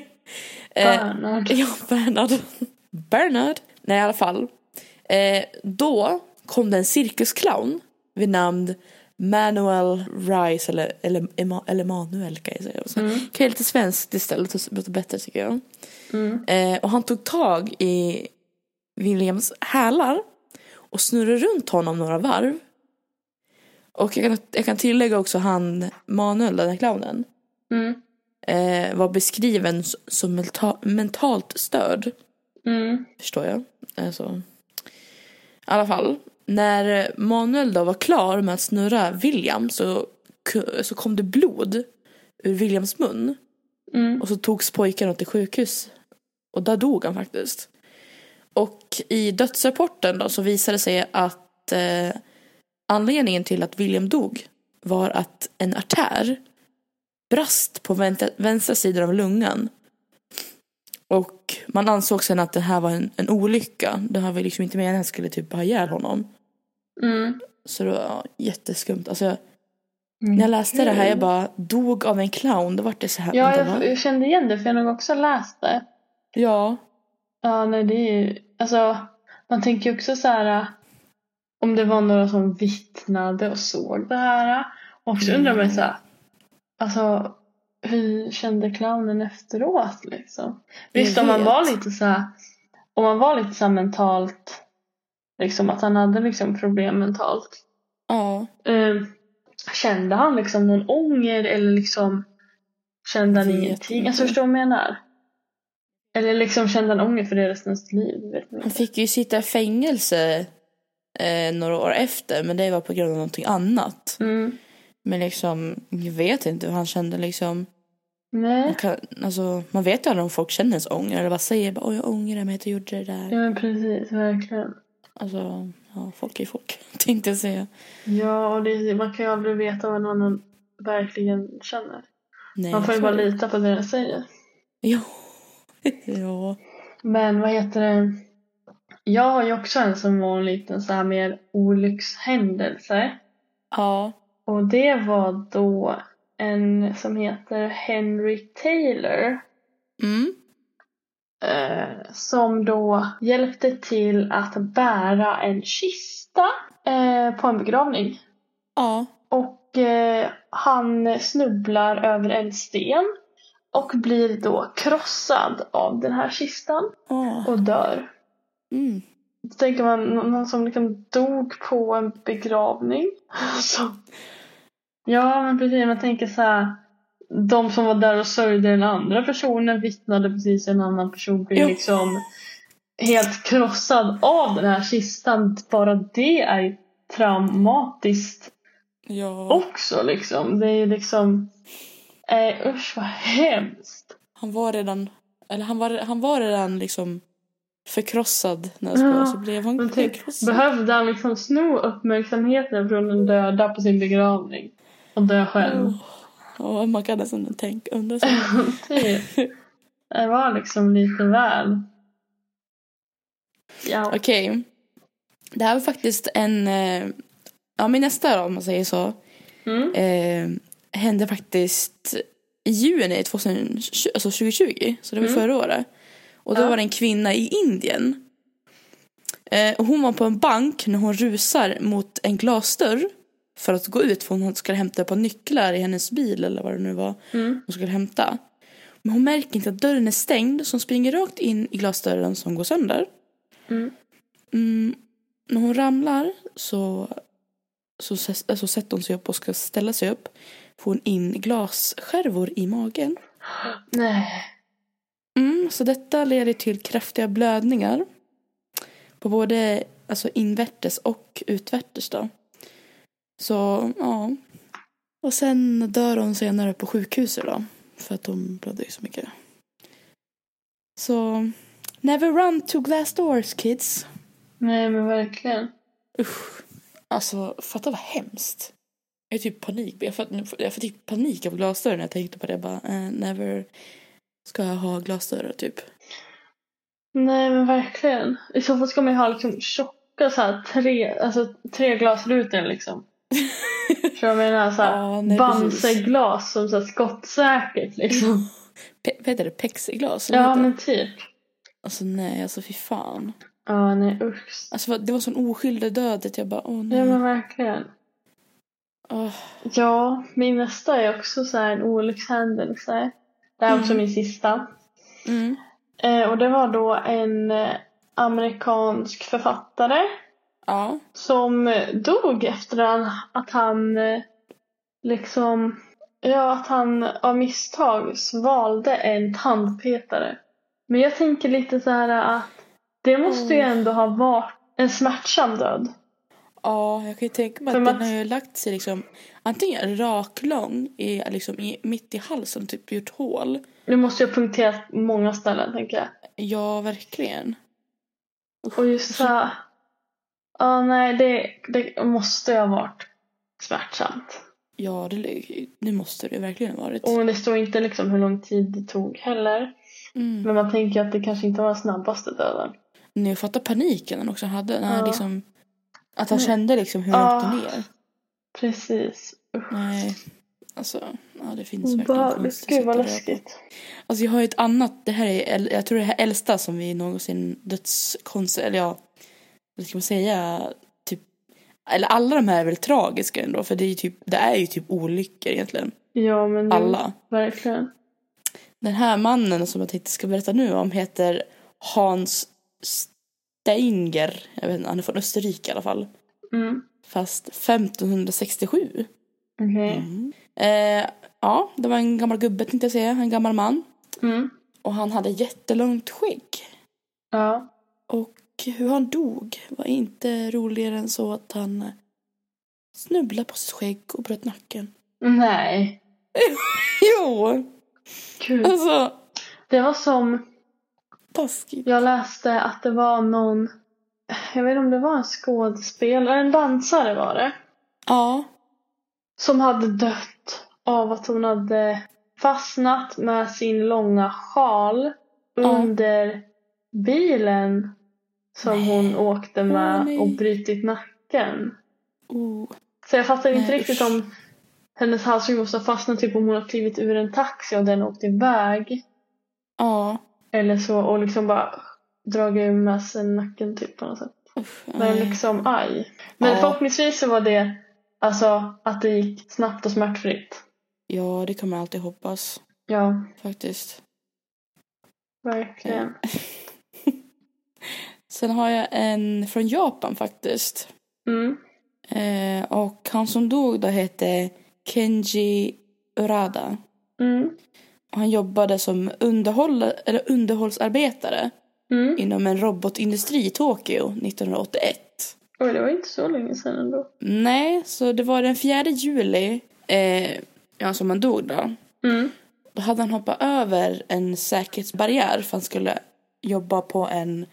Eh,
Bernhard.
ja, Bernard. Bernard. Nej i alla fall. Eh, då kom det en cirkusclown vid namn Manuel Rice eller, eller, Ema- eller Emanuel kan jag säga.
Mm.
Kan jag lite svenskt istället, det låter bättre tycker jag.
Mm.
Eh, och han tog tag i Williams hälar och snurrade runt honom några varv. Och jag kan, jag kan tillägga också han Manuel, den här clownen,
Mm.
eh, var beskriven s- som menta- mentalt störd.
Mm.
Förstår jag. Alltså. I alla fall. När Manuel då var klar med att snurra William så, ku- så kom det blod ur Williams mun.
Mm.
Och så togs pojken till sjukhus. Och där dog han faktiskt. Och i dödsrapporten då så visade det sig att eh, Anledningen till att William dog var att en artär brast på vänstra, vänstra sidan av lungan. Och man ansåg sen att det här var en, en olycka. Det här var liksom inte meningen att han skulle typ ha ihjäl honom.
Mm.
Så det var ja, jätteskumt. Alltså, när jag läste det här jag bara dog av en clown. Då vart det så här.
Ja,
vänta,
jag,
va?
jag kände igen det för jag har nog också läst det.
ja.
Ja, nej det är ju, alltså man tänker ju också så här äh, om det var några som vittnade och såg det här. äh, Och så undrar man ju så här, alltså hur kände clownen efteråt liksom?
Jag
Visst om man
vet.
var lite så här, om man var lite så här mentalt, liksom att han hade liksom problem mentalt.
ja.
Ehm, kände han liksom någon ånger eller liksom kände han
Vet
ingenting?
inte.
Alltså förstår du vad jag menar? Eller liksom kände han ånger för det resten av sitt liv? Vet ni?
Han fick ju sitta i fängelse eh, några år efter. Men det var på grund av någonting annat.
Mm.
Men liksom, jag vet inte hur han kände liksom. Man,
Nej,
kan, alltså, man vet ju aldrig om folk känner ens ånger. Eller bara säger bara, oj jag ångrar mig att jag gjorde det där.
ja men precis, verkligen.
Alltså, ja, folk är ju folk. Tänkte jag säga.
Ja, och det, man kan ju aldrig veta vad någon annan verkligen känner.
Nej,
Man får ju
så-
bara lita på det den säger.
Ja. ja.
Men vad heter det? Jag har ju också en som var en liten så här mer olyckshändelse.
Ja.
Och det var då en som heter Henry Taylor
Mm.
eh, som då hjälpte till att bära en kista eh, på en begravning.
Ja.
Och eh, han snubblar över en sten och blir då krossad av den här kistan
Ja.
och dör.
Mm.
Då tänker man nå- någon som liksom dog på en begravning. Så. Ja men precis, man tänker så här. De som var där och sörjde den andra personen vittnade precis en annan person
Jo.
blev liksom helt krossad av den här kistan. Bara det är ju traumatiskt
ja.
också liksom. Det är ju liksom, eh, usch vad hemskt.
Han var redan, eller han var, han var redan liksom förkrossad när jag skojar,
Ja,
så blev han
Men tänk,
förkrossad.
behövde han liksom sno uppmärksamheten från den döda på sin begravning och dö själv?
Åh, åh, man kan nästan tänka, undra så.
Typ. Det var liksom lite väl. Ja.
Okej. Det här var faktiskt en, eh, ja min nästa då, om man säger så,
Mm.
eh, hände faktiskt i juni 2020, alltså 2020, så det var
Mm.
förra året. Och då
Ja.
var det en kvinna i Indien. Eh, och hon var på en bank när hon rusar mot en glasdörr för att gå ut för hon skulle hämta ett par nycklar i hennes bil eller vad det nu var
Mm.
hon skulle hämta. Men hon märker inte att dörren är stängd så hon springer rakt in i glasdörren som går sönder.
Mm.
Mm, när hon ramlar så, så, s- alltså, sätter hon sig upp och ska ställa sig upp. Får hon in glasskärvor i magen.
Nej.
Mm, så detta leder till kraftiga blödningar. På både alltså invärtes och utvärtes då. Så ja. Och sen dör hon senare på sjukhuset då. För att hon blödde ju så mycket. Så never run to glass doors kids.
Nej men verkligen.
Usch. Alltså fatta vad hemskt. Jag är typ panik. Jag får, nu får- jag får typ panik av glasdörren när jag tänkte på det. Jag bara eh, never ska jag ha glasdörrar typ.
Nej men verkligen. I så fall ska man ju ha liksom tjocka så här tre, alltså tre glasrutor liksom. Tror jag menar så här
Ja, nej, precis.
bamseglas som så här skottsäkert liksom.
Pe- vad heter det? Pexiglas? Vad
Ja
heter det?
men typ.
Alltså nej, alltså fy fan.
Ja nej usch.
Alltså vad- det var sån oskyldig död att jag bara åh nej.
Ja men verkligen.
Åh,
Ja, min nästa är också så här en olyckshändelse. Det här är också
Mm.
min sista.
mm.
Eh, och det var då en eh, amerikansk författare
Ja.
som eh, dog efter han, att han eh, liksom, ja att han av misstag svalde en tandpetare. Men jag tänker lite så här att det måste ju
Oh.
ändå ha varit en smärtsam död.
Ja, jag kan ju tänka mig
För
att
man-
den har ju lagt sig liksom antingen raklång i, liksom i, mitt i halsen, typ gjort hål.
Nu måste jag punktera många ställen tänker jag.
Ja, verkligen.
Och just så här, Ja, nej, det, det måste ha varit smärtsamt.
Ja, det, det måste det verkligen ha varit.
Och det står inte liksom hur lång tid det tog heller.
Mm.
Men man tänker ju att det kanske inte var den snabbaste döden.
När jag fattar paniken han också hade. När han
Ja.
liksom, att han
Mm.
kände liksom hur
Ja.
han åkte ner.
Precis. Usch.
Nej, alltså. Ja, det finns verkligen
Obehagligt.
konstiga
Gud vad
sätt att dö på.
läskigt.
Alltså jag har ju ett annat, det här är, äl- jag tror det här äldsta som vi någonsin dödskonst, eller ja, vad ska man säga, typ, eller alla de här är väl tragiska ändå, för det är ju typ, det är ju typ olyckor egentligen,
Ja men det-
alla.
verkligen.
Den här mannen som jag tänkte ska berätta nu om heter Hans Steinger, jag vet inte, han är från Österrike i alla fall,
Mm.
fast 1567.
Okej.
Eh, ja, det var en gammal gubbe tänkte jag säga, en gammal man,
Mm.
och han hade jättelångt skägg.
Ja.
Och hur han dog var inte roligare än så att han snubblade på sitt skägg och bröt nacken.
Nej.
Jo!
Gud.
Alltså,
Det var som
taskigt.
Jag läste att det var någon, jag vet inte om det var en skådespelare, en dansare var det,
Ja.
som hade dött av att hon hade fastnat med sin långa sjal
Ja.
under bilen som
Nej.
hon åkte med
Åh, nej.
och brutit nacken.
Oh.
Så jag fattar inte
Nej,
riktigt
usch.
om hennes halsduk måste ha fastnat, typ om hon har klivit ur en taxi och den åkte iväg.
Ja.
Eller så, och liksom bara dragit ur med sig nacken typ på något sätt.
Usch,
Men
nej.
liksom aj. Men
Ja.
förhoppningsvis så var det alltså att det gick snabbt och smärtfritt.
Ja, det kan man alltid hoppas.
Ja,
Faktiskt.
verkligen.
Sen har jag en från Japan faktiskt.
Mm.
Eh, och han som dog då hette Kenji Urada.
Mm.
Och Han jobbade som underhåll, eller underhållsarbetare
Mm.
inom en robotindustri i Tokyo 1981.
Oj, det var inte så länge sedan ändå.
Nej, så det var den 4 juli eh, ja, som han dog då.
Mm.
Då hade han hoppat över en säkerhetsbarriär för han skulle jobba på en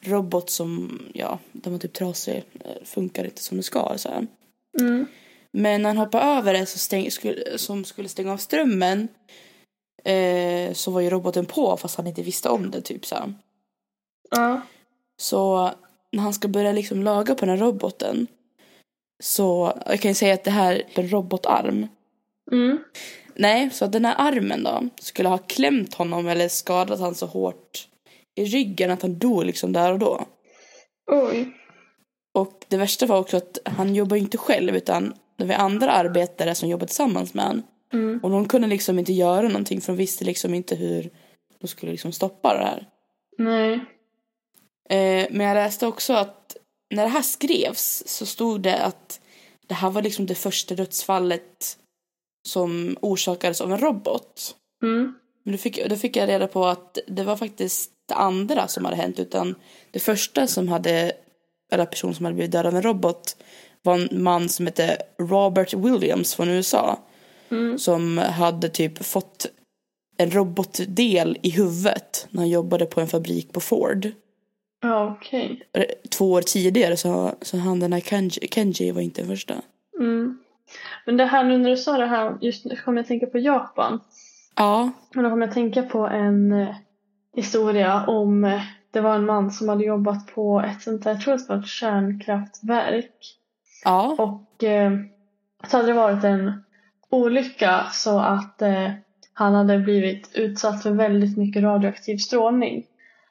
robot som, ja, den var typ trasig, eh, funkar inte som den ska. Så här.
Mm.
Men när han hoppade över det så stäng, skulle, som skulle stänga av strömmen eh, så var ju roboten på fast han inte visste om det typ så här.
Ja.
Så när han ska börja liksom laga på den här roboten så, jag kan ju säga att det här är en robotarm.
Mm.
Nej, så att den här armen då skulle ha klämt honom eller skadat han så hårt i ryggen att han dog liksom där och då.
Oj.
Och det värsta var också att han jobbar ju inte själv utan det var andra arbetare som jobbade tillsammans med honom.
Mm.
Och de kunde liksom inte göra någonting för de visste liksom inte hur de skulle liksom stoppa det här.
Nej.
Eh, men jag läste också att när det här skrevs så stod det att det här var liksom det första dödsfallet som orsakades av en robot.
Mm.
Men då fick, då fick jag reda på att det var faktiskt det andra som hade hänt utan det första som hade, eller person som hade blivit dödad av en robot var en man som hette Robert Williams från USA
Mm.
som hade typ fått en robotdel i huvudet när han jobbade på en fabrik på Ford.
Ja, okej.
Två år tidigare så, så han den här Kenji, Kenji var inte den första.
Mm. Men det här nu när du sa det här, just nu kommer jag att tänka på Japan.
Ja,
Men då kommer jag att tänka på en eh, historia om eh, det var en man som hade jobbat på ett sånt där, jag tror att det var ett kärnkraftverk.
ja,
Och eh, så hade det varit en olycka så att eh, han hade blivit utsatt för väldigt mycket radioaktiv strålning.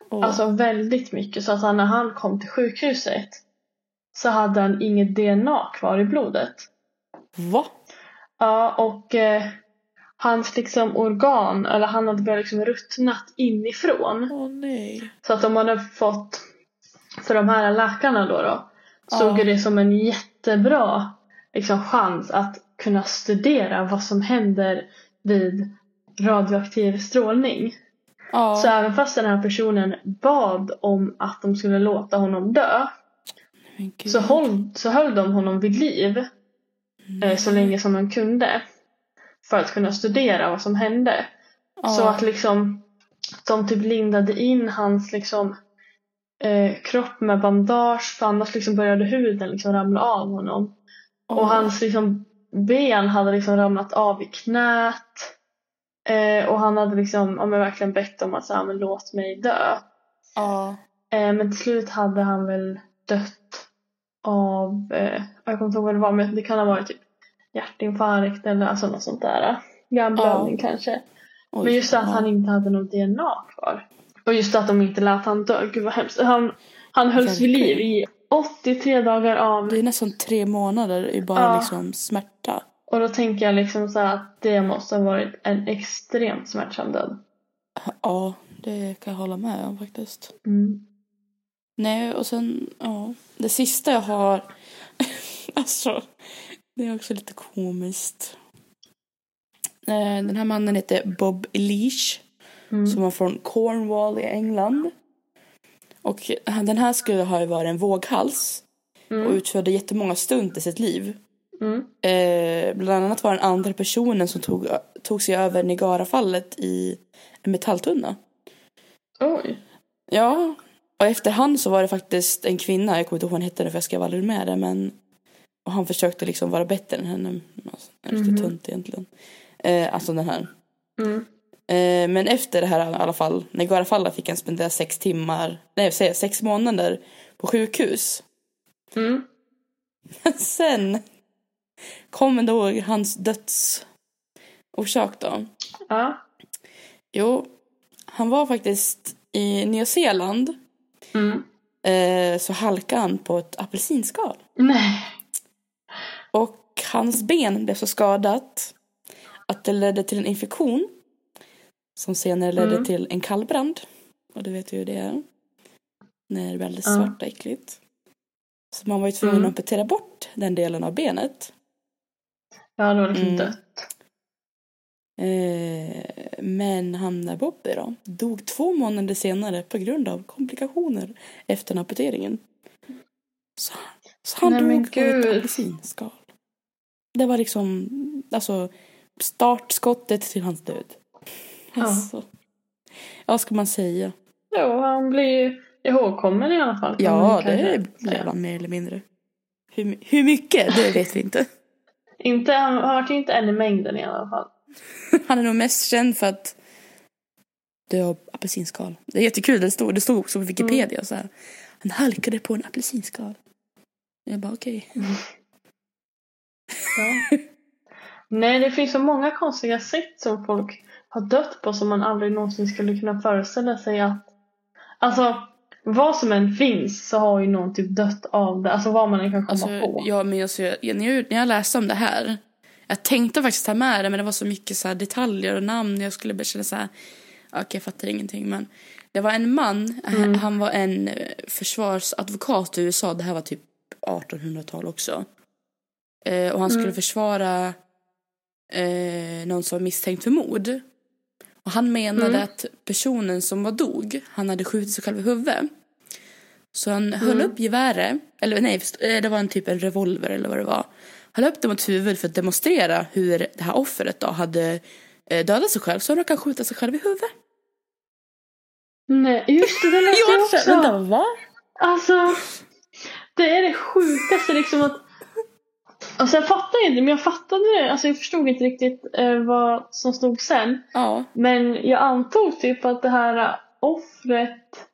och,
Alltså väldigt mycket så att han, när han kom till sjukhuset så hade han inget DNA kvar i blodet.
va?
Ja, och eh, hans liksom organ, eller han hade börjat liksom ruttnat inifrån.
Åh nej.
Så att de hade fått, för de här läkarna då, då såg
Ja.
ju det som en jättebra liksom, chans att kunna studera vad som händer vid radioaktiv strålning.
Ja,
Så även fast den här personen bad om att de skulle låta honom dö
men gud.
så, håll, så höll de honom vid liv
Mm.
eh, så länge som de kunde för att kunna studera vad som hände.
Ja.
Så att liksom de typ lindade in hans liksom eh, kropp med bandage för annars liksom började huden liksom ramla av honom. Och hans liksom, ben hade liksom ramlat av i knät. Eh, och han hade liksom, ja, men verkligen bett om att så här, men låt mig dö.
Ja.
Eh, men till slut hade han väl dött av, eh, jag kommer inte ihåg vad det var, men det kan ha varit typ hjärtinfarkt eller alltså något sånt där. Hjärnblödning kanske.
Oj,
Men just det att
ja.
han inte hade något DNA kvar. Och just det att de inte lät han dö. Gud vad hemskt. Han, han hölls vid liv i 83 dagar av.
Det är nästan tre månader i bara
Ja.
liksom smärta.
Och då tänker jag liksom så här att det måste ha varit en extremt smärtsam död.
Ja, det kan jag hålla med om faktiskt.
Mm.
Nej, och sen, ja. Det sista jag har, alltså, det är också lite komiskt. Eh, Den här mannen heter Bob Leash,
Mm.
som var från Cornwall i England. Och han- den här skulle ha ju varit en våghals och
Mm.
utförde jättemånga stunt i sitt liv.
Mm.
Eh, bland annat var den andra personen som tog, tog sig över Nigarafallet i en metalltunna.
Oj.
Ja, och efter han så var det faktiskt en kvinna, jag kommer inte ihåg vad hon hette nu för jag skrev aldrig med det, men och han försökte liksom vara bättre än henne. Alltså, det är lite
Mhm.
tunt egentligen. Eh, alltså den här.
Mm.
Eh, men efter det här i alla fall, när Guarafalla fick han spendera sex timmar, nej säger jag, sex månader på sjukhus.
Mm.
Sen kom då hans dödsorsak då.
Ja.
Jo, han var faktiskt i Nya Zeeland
Mm.
eh, så halkade han på ett apelsinskal.
Nej.
Och hans ben blev så skadat att det ledde till en infektion som senare ledde
Mm.
till en kallbrand. Och du vet ju hur det är. När det blir alldeles
Ja.
svart och äckligt. Så man var ju tvungen
Mm.
att amputera bort den delen av benet.
Ja, det var liksom
Mm.
dött.
Eh, men han där Bobby då, dog två månader senare på grund av komplikationer efter amputeringen. Så, så han
Nej, men
dog av ett
gud.
apelsinskal. Det var liksom, alltså startskottet till hans död.
Ja.
Alltså, ja, vad ska man säga?
Jo, han blir ju ihågkommen i alla fall. kan
Ja,
man
det
kanske
blev
säga.
han mer eller mindre. Hur, my- hur mycket, det vet vi inte.
Inte, han har ju inte en i mängden i alla fall.
Han är nog mest känd för att dö av apelsinskal. Det är jättekul, det stod, det stod också på Wikipedia så här. Han halkade på en apelsinskal. Jag bara okej.
Ja. Nej, det finns så många konstiga sätt som folk har dött på som man aldrig någonsin skulle kunna föreställa sig att... Alltså, vad som än finns så har ju någon typ dött av det. Alltså vad man än kan komma
Alltså,
på.
ja, men alltså, jag, när, jag, när jag läste om det här. Jag tänkte faktiskt ta med det men det var så mycket så här, detaljer och namn. Jag skulle bara känna så här. Okej, jag fattar ingenting men. Det var en man. h-
Mm.
Han var en eh, försvarsadvokat i USA. Det här var typ 1800-tal också. Eh, och han skulle
Mm.
försvara eh, någon som var misstänkt för mord. Och han menade
Mm.
att personen som var dog, han hade skjutit sig själv i huvudet. Så han höll upp geväret, eller nej, först- eh, det var en typ en revolver eller vad det var. Han höll upp det mot huvudet för att demonstrera hur det här offret då hade eh, dödat sig själv. Så han råkade skjuta sig själv i huvudet.
Nej, just det, det läste jag också.
Vänta, va?
Alltså, det är det sjukaste liksom att... Alltså jag fattar inte, men jag fattade, alltså jag förstod inte riktigt eh, vad som stod sen.
Ja.
Men jag antog typ att det här offret,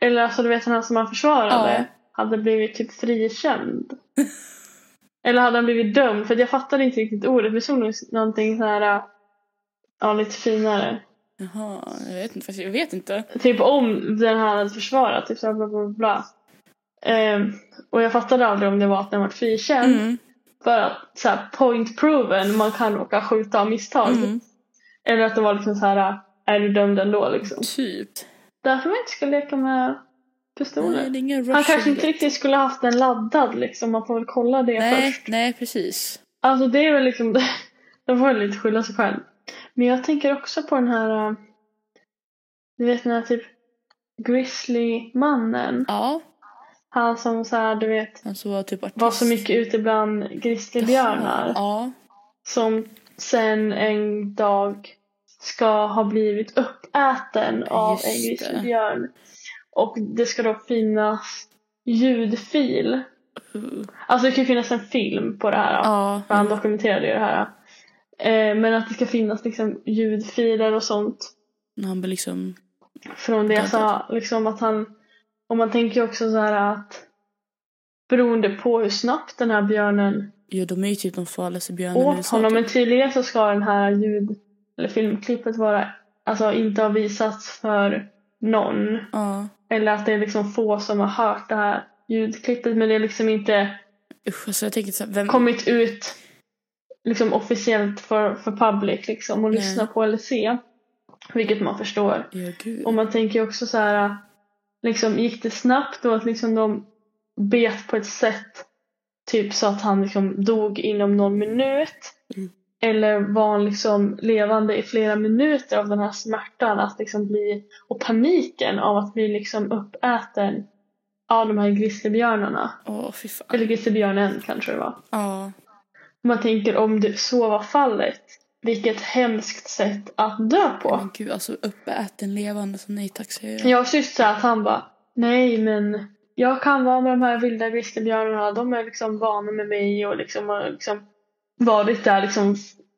eller alltså du vet den här som han försvarade,
Ja.
hade blivit typ frikänd. eller hade han blivit dömd? För att jag fattade inte riktigt ordet, men det stod nog någonting så här, ja lite finare.
Jaha, jag vet inte. faktiskt, Jag vet inte.
Typ om den här hade försvarat, typ så bla bla bla. bla. Ehm, och jag fattade aldrig om det var att den var frikänd.
Mm.
För att så här, point proven, man kan åka skjuta av misstag.
Mm.
Eller att det var liksom så här, är du dömd ändå liksom.
Typ.
Därför man inte ska leka med
Nej, det
pistoler.
är ingen
Han
rush
kanske inte
roulette.
riktigt skulle haft den laddad liksom, man får väl kolla det
Nej,
först.
nej, precis.
Alltså det är väl liksom, de får väl lite skylla sig själv. Men jag tänker också på den här, äh, du vet den här typ grizzly-mannen.
Ja,
Han som så här, du vet,
han som var typ artist.
var så mycket ute bland grizzlybjörnar.
Ja.
Som sen en dag ska ha blivit uppäten av en
Just det.
grizzlybjörn. Och det ska då finnas ljudfil. Alltså det kan ju finnas en film på det här.
Uh. Ja.
För han dokumenterade ju det här. Eh, men att det ska finnas liksom ljudfiler och sånt.
När han blir liksom...
Från det jag sa, liksom att han... Och man tänker ju också så här att beroende på hur snabbt den här björnen
Ja, de är ju typ de farligaste björnarna i
åt
USA,
honom.
typ.
Men tydligen så ska den här ljud eller filmklippet vara, alltså inte ha visats för någon.
Ja.
Eller att det är liksom få som har hört det här ljudklippet men det är liksom inte
Usch, alltså jag tänker så här, vem...
kommit ut liksom officiellt för, för public liksom och
Nej.
lyssna på eller se. Vilket man förstår.
Ja, gud.
Och man tänker ju också så här, liksom gick det snabbt då att liksom de bet på ett sätt typ så att han liksom dog inom någon minut?
Mm.
Eller var han liksom levande i flera minuter av den här smärtan att liksom bli, och paniken av att bli liksom uppäten av de här grizzlybjörnarna?
Åh, fy fan.
Eller grizzlybjörnen kanske det var.
Ja.
Man tänker om det så var fallet, vilket hemskt sätt att dö på.
Men gud, alltså uppäten levande som nej tack säger jag.
Jag syster att han bara Nej men jag kan vara med de här vilda grizzlybjörnarna. De är liksom vana med mig och liksom har liksom varit där liksom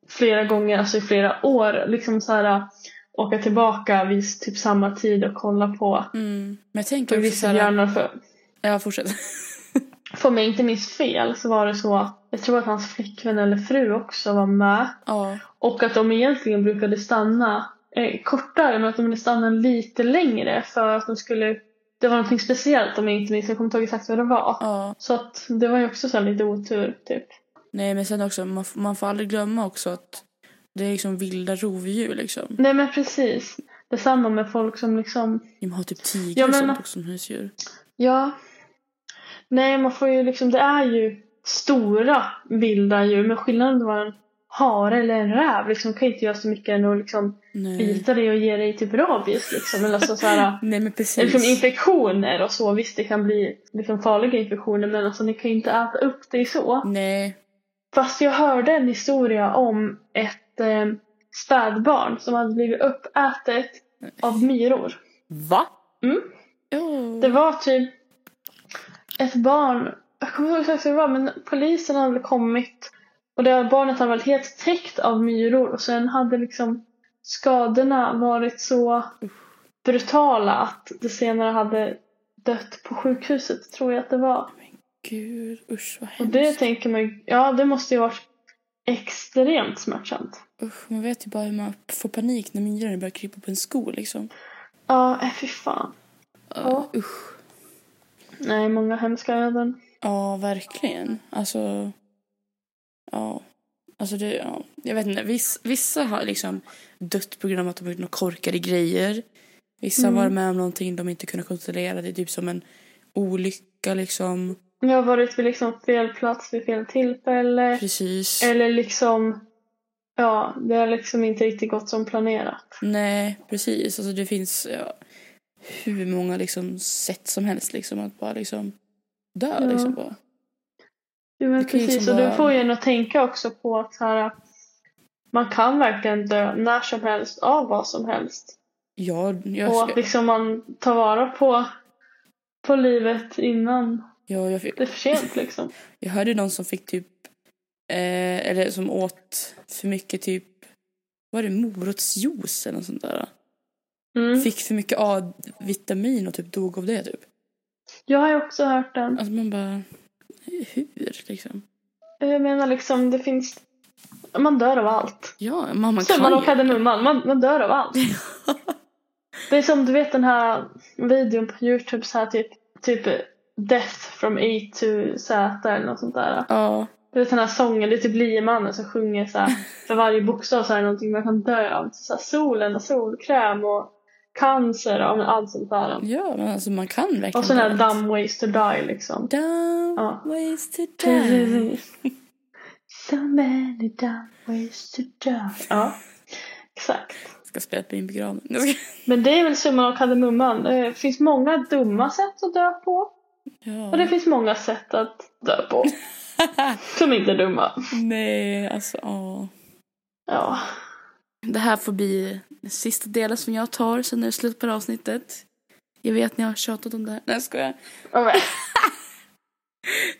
flera gånger, alltså i flera år. Liksom så här åka tillbaka vid typ samma tid och kolla på
Mm. Men jag tänker
på
också så här...
grizzlybjörnar. För,
Ja, fortsätt.
för mig inte minns fel så var det så att jag tror att hans flickvän eller fru också var med.
ja.
Och att de egentligen brukade stanna eh, kortare men att de ville stanna lite längre för att de skulle Det var någonting speciellt om jag inte minns, jag kommer inte ihåg exakt vad det var.
Ja.
Så att det var ju också så här lite otur typ.
Nej, men sen också, man, f- man får aldrig glömma också att det är liksom vilda rovdjur liksom.
Nej men precis. Detsamma med folk som liksom
De har typ tigrar
Ja,
och
men-
sånt också som husdjur.
Ja. Nej man får ju liksom, det är ju stora vilda djur men skillnaden var en hare eller en räv liksom kan inte göra så mycket än att liksom
Nej.
bita dig och ge dig typ rabies liksom eller alltså så här
Nej, men
Eller Liksom
precis.
infektioner och så, visst det kan bli liksom farliga infektioner men alltså ni kan ju inte äta upp det så.
Nej.
Fast jag hörde en historia om ett eh, spädbarn som hade blivit uppätet av myror.
Va?
Mm.
Ja.
Det var typ ett barn, jag kommer inte ihåg exakt hur det var men polisen hade kommit och det här barnet hade varit helt täckt av myror och sen hade liksom skadorna varit så brutala att det senare hade dött på sjukhuset tror jag att det var.
Gud, usch vad
Och
hemskt.
det tänker man ja det måste ju varit extremt smärtsamt.
Usch, man vet ju bara hur man får panik när myrorna börjar krypa på en sko liksom.
Ja, äh, fy fan.
Ja. Usch.
Nej, många hemska öden.
Ja, verkligen. Alltså... Ja. Alltså det, ja. Jag vet inte, viss, vissa har liksom dött på grund av att de har gjort några korkade grejer. Vissa
Mm.
var med om någonting de inte kunde kontrollera. Det är typ som en olycka liksom.
Jag har varit vid liksom fel plats vid fel tillfälle.
Precis.
Eller liksom, ja, det har liksom inte riktigt gått som planerat.
Nej, precis. Alltså det finns ja, hur många liksom sätt som helst liksom att bara liksom dö
Ja.
liksom bara.
Jo, men
Det kan ju
precis,
liksom
och det
vara-
får ju en att tänka också på att så här, man kan verkligen dö när som helst av vad som helst.
Ja, jag,
Och att
jag,
liksom man tar vara på, på livet innan
ja, jag,
det är för sent liksom.
jag hörde någon som fick typ, eh, eller som åt för mycket typ, var det morotsjuice eller något sånt där?
Mm.
Fick för mycket A-vitamin och typ dog av det typ.
Jag har ju också hört den.
Alltså man bara, hur liksom?
Jag menar liksom, det finns, man dör av allt.
Ja, man, man
Summan
kan
och
ju.
kardemumman, man, man dör av allt. Det är som du vet den här videon på Youtube så här typ, typ Death from A to Z eller något sånt där.
Ja,
Du vet den här sången, det är typ liemannen som sjunger så här för varje bokstav så är det någonting man kan dö av. Så här, solen och solkräm och cancer och men allt sånt där.
ja, men alltså man kan verkligen.
Och sån här
dö.
dumb ways to die liksom.
Dumb
Ja.
ways to die.
So many dumb ways to die. Ja, exakt.
Ska spela på min begravning. Jag ska-
Men det är väl summan av kardemumman. Det finns många dumma sätt att dö på. Och det
Ja.
finns många sätt att dö på. Som inte är dumma.
Nej, alltså ja.
Ja.
Det här får bli den sista delen som jag tar, sen är det slut på det här avsnittet. Jag vet ni har tjatat om det här. Nej, ska jag
Okej.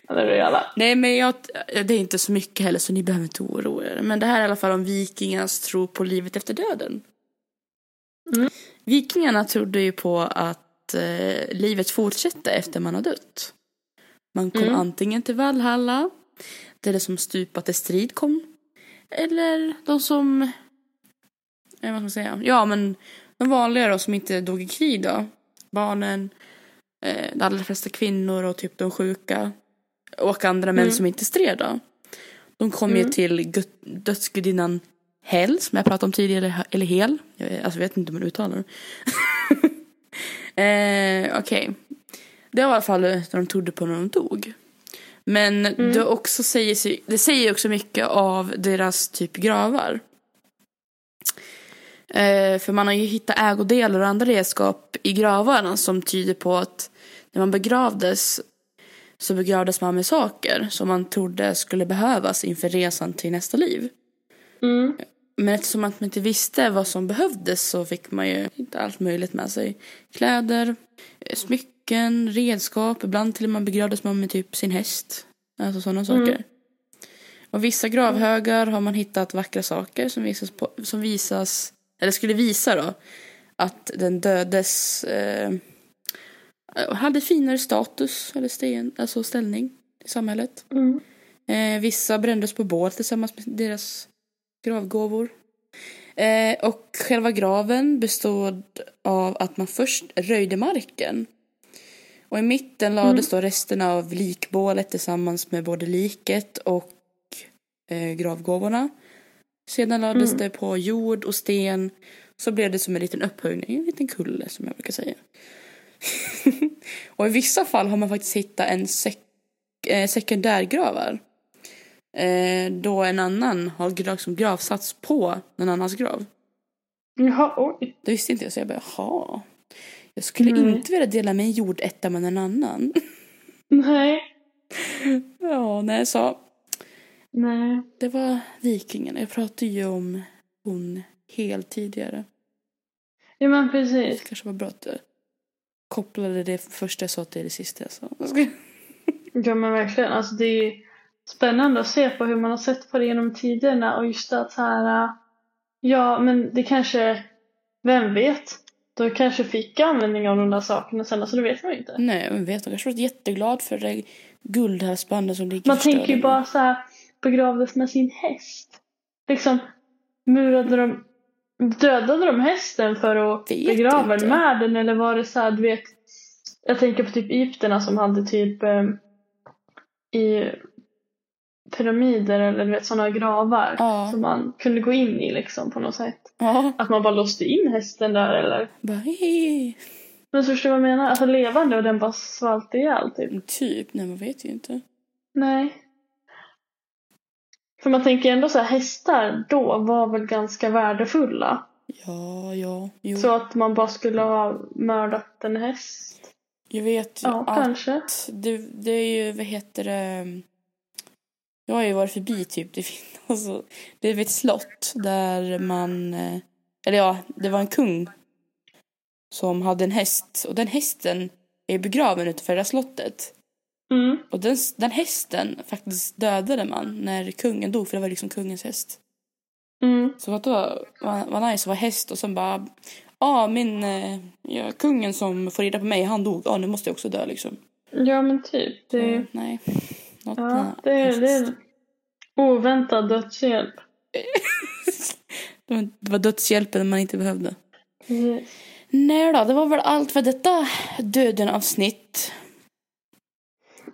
Ja, det är det alla.
Nej, men jag, det är inte så mycket heller så ni behöver inte oroa er. Men det här är i alla fall om vikingarnas tro på livet efter döden.
Mm.
Vikingarna trodde ju på att eh, livet fortsätter efter man har dött. Man kom
Mm.
antingen till Valhalla, där det som stupat i strid kom. Eller de som, eh, vad ska man säga, ja men de vanliga då som inte dog i krig då. Barnen, eh, de allra flesta kvinnor och typ de sjuka och andra män
Mm.
som inte stred då. De kom ju
Mm.
till gut- dödsgudinnan Hel som jag pratade om tidigare, eller- eller Hel. Jag vet- alltså, jag vet inte hur man uttalar det. eh, Okej. Det var i alla fall när de trodde på när de dog. Men
Mm.
det, också säger, sig- det säger också mycket av deras typ gravar. Eh, för man har ju hittat ägodelar och andra redskap i gravarna som tyder på att när man begravdes så begravdes man med saker som man trodde skulle behövas inför resan till nästa liv.
Mm.
Men eftersom att man inte visste vad som behövdes så fick man ju inte allt möjligt med sig. Kläder, eh, smycken, redskap. Ibland till och med begravdes man med typ sin häst. Alltså sådana saker. Och vissa gravhögar har man hittat vackra saker som visas, på, som visas eller skulle visa då, att den dödes eh, hade finare status eller sten, alltså ställning i samhället.
Mm.
Eh, vissa brändes på bål tillsammans med deras gravgåvor. Eh, och själva graven bestod av att man först röjde marken. Och i mitten lades då resterna av likbålet tillsammans med både liket och eh, gravgåvorna. Sedan lades det på jord och sten. Så blev det som en liten upphöjning, en liten kulle som jag brukar säga. och i vissa fall har man faktiskt hittat en sek- eh, sekundärgravar. Eh, då en annan har gra- som gravsats på någon annans grav.
Jaha, oj.
Det visste inte jag så jag bara jaha. Jag skulle
Mm.
inte vilja dela min jordetta med någon annan.
Nej.
ja, nej så.
Nej.
Det var vikingarna. Jag pratade ju om hon helt tidigare.
Ja, men
Det
precis.
kanske var bra att jag kopplade det första jag sa till det sista jag sa. Jag ska-
Ja, men verkligen. Alltså, det är ju spännande att se på hur man har sett på det genom tiderna och just att så här, äh, ja, men det kanske, vem vet, då kanske fick jag användning av de där sakerna sen, alltså det vet man ju inte.
Nej, men vet, hon kanske var jätteglad för det guldhalsbandet som ligger
Man
förstörda
tänker ju
nu.
bara så här, begravdes med sin häst. Liksom, murade de, dödade de hästen för att
Vet
begrava
inte.
den med den eller var det så här, du vet, jag tänker på typ egyptierna som hade typ eh, i pyramider eller du vet sådana gravar
Ja.
som man kunde gå in i liksom på något sätt.
Ja,
Att man bara låste in hästen där eller.
bara hej.
Men så förstår du vad jag menar? Alltså levande och den bara svalt ihjäl typ.
Typ, nej man vet ju inte.
Nej. För man tänker ändå så här, hästar då var väl ganska värdefulla.
Ja, ja, jo.
Så att man bara skulle ha mördat en häst.
Jag vet ju
Ja,
att
kanske.
det, det är ju, vad heter det? Jag har ju varit förbi typ, det finns alltså, det är ett slott där man, eh, eller ja, det var en kung som hade en häst och den hästen är begraven utanför det här slottet.
Mm.
Och den, den hästen faktiskt dödade man när kungen dog för det var liksom kungens häst.
Mm.
Så att då var, var nice att vara häst och sen bara, ja min, eh, ja, kungen som får rida på mig han dog, ja nu måste jag också dö liksom.
Ja men typ. Det,
Ja, nej. Något
ja,
med
det, är- det
häst.
är oväntad dödshjälp.
Det var- Det var dödshjälpen när man inte behövde.
Precis.
Nej då, det var väl allt för detta döden avsnitt.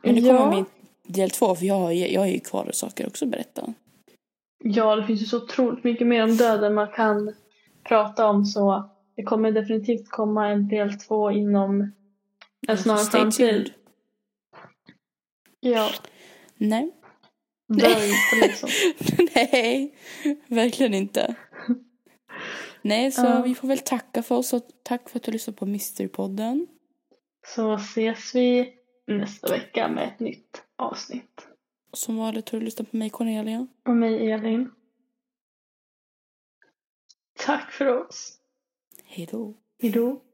Men det kommer
Ja.
min del två för jag har, ju- jag har ju kvar saker också att berätta.
ja, det finns ju så otroligt mycket mer om döden man kan prata om så det kommer definitivt komma en del två inom en snar
Så Alltså, stay
framtid.
tuned.
Ja,
Nej.
dö inte liksom.
Nej, verkligen inte. Nej, så
Ja.
vi får väl tacka för oss och tack för att du lyssnade på Mysterypodden.
Så ses vi nästa vecka med ett nytt avsnitt.
Som vanligt har du lyssnat på mig Cornelia.
Och mig Elin. Tack för oss.
Hej då.
Hejdå.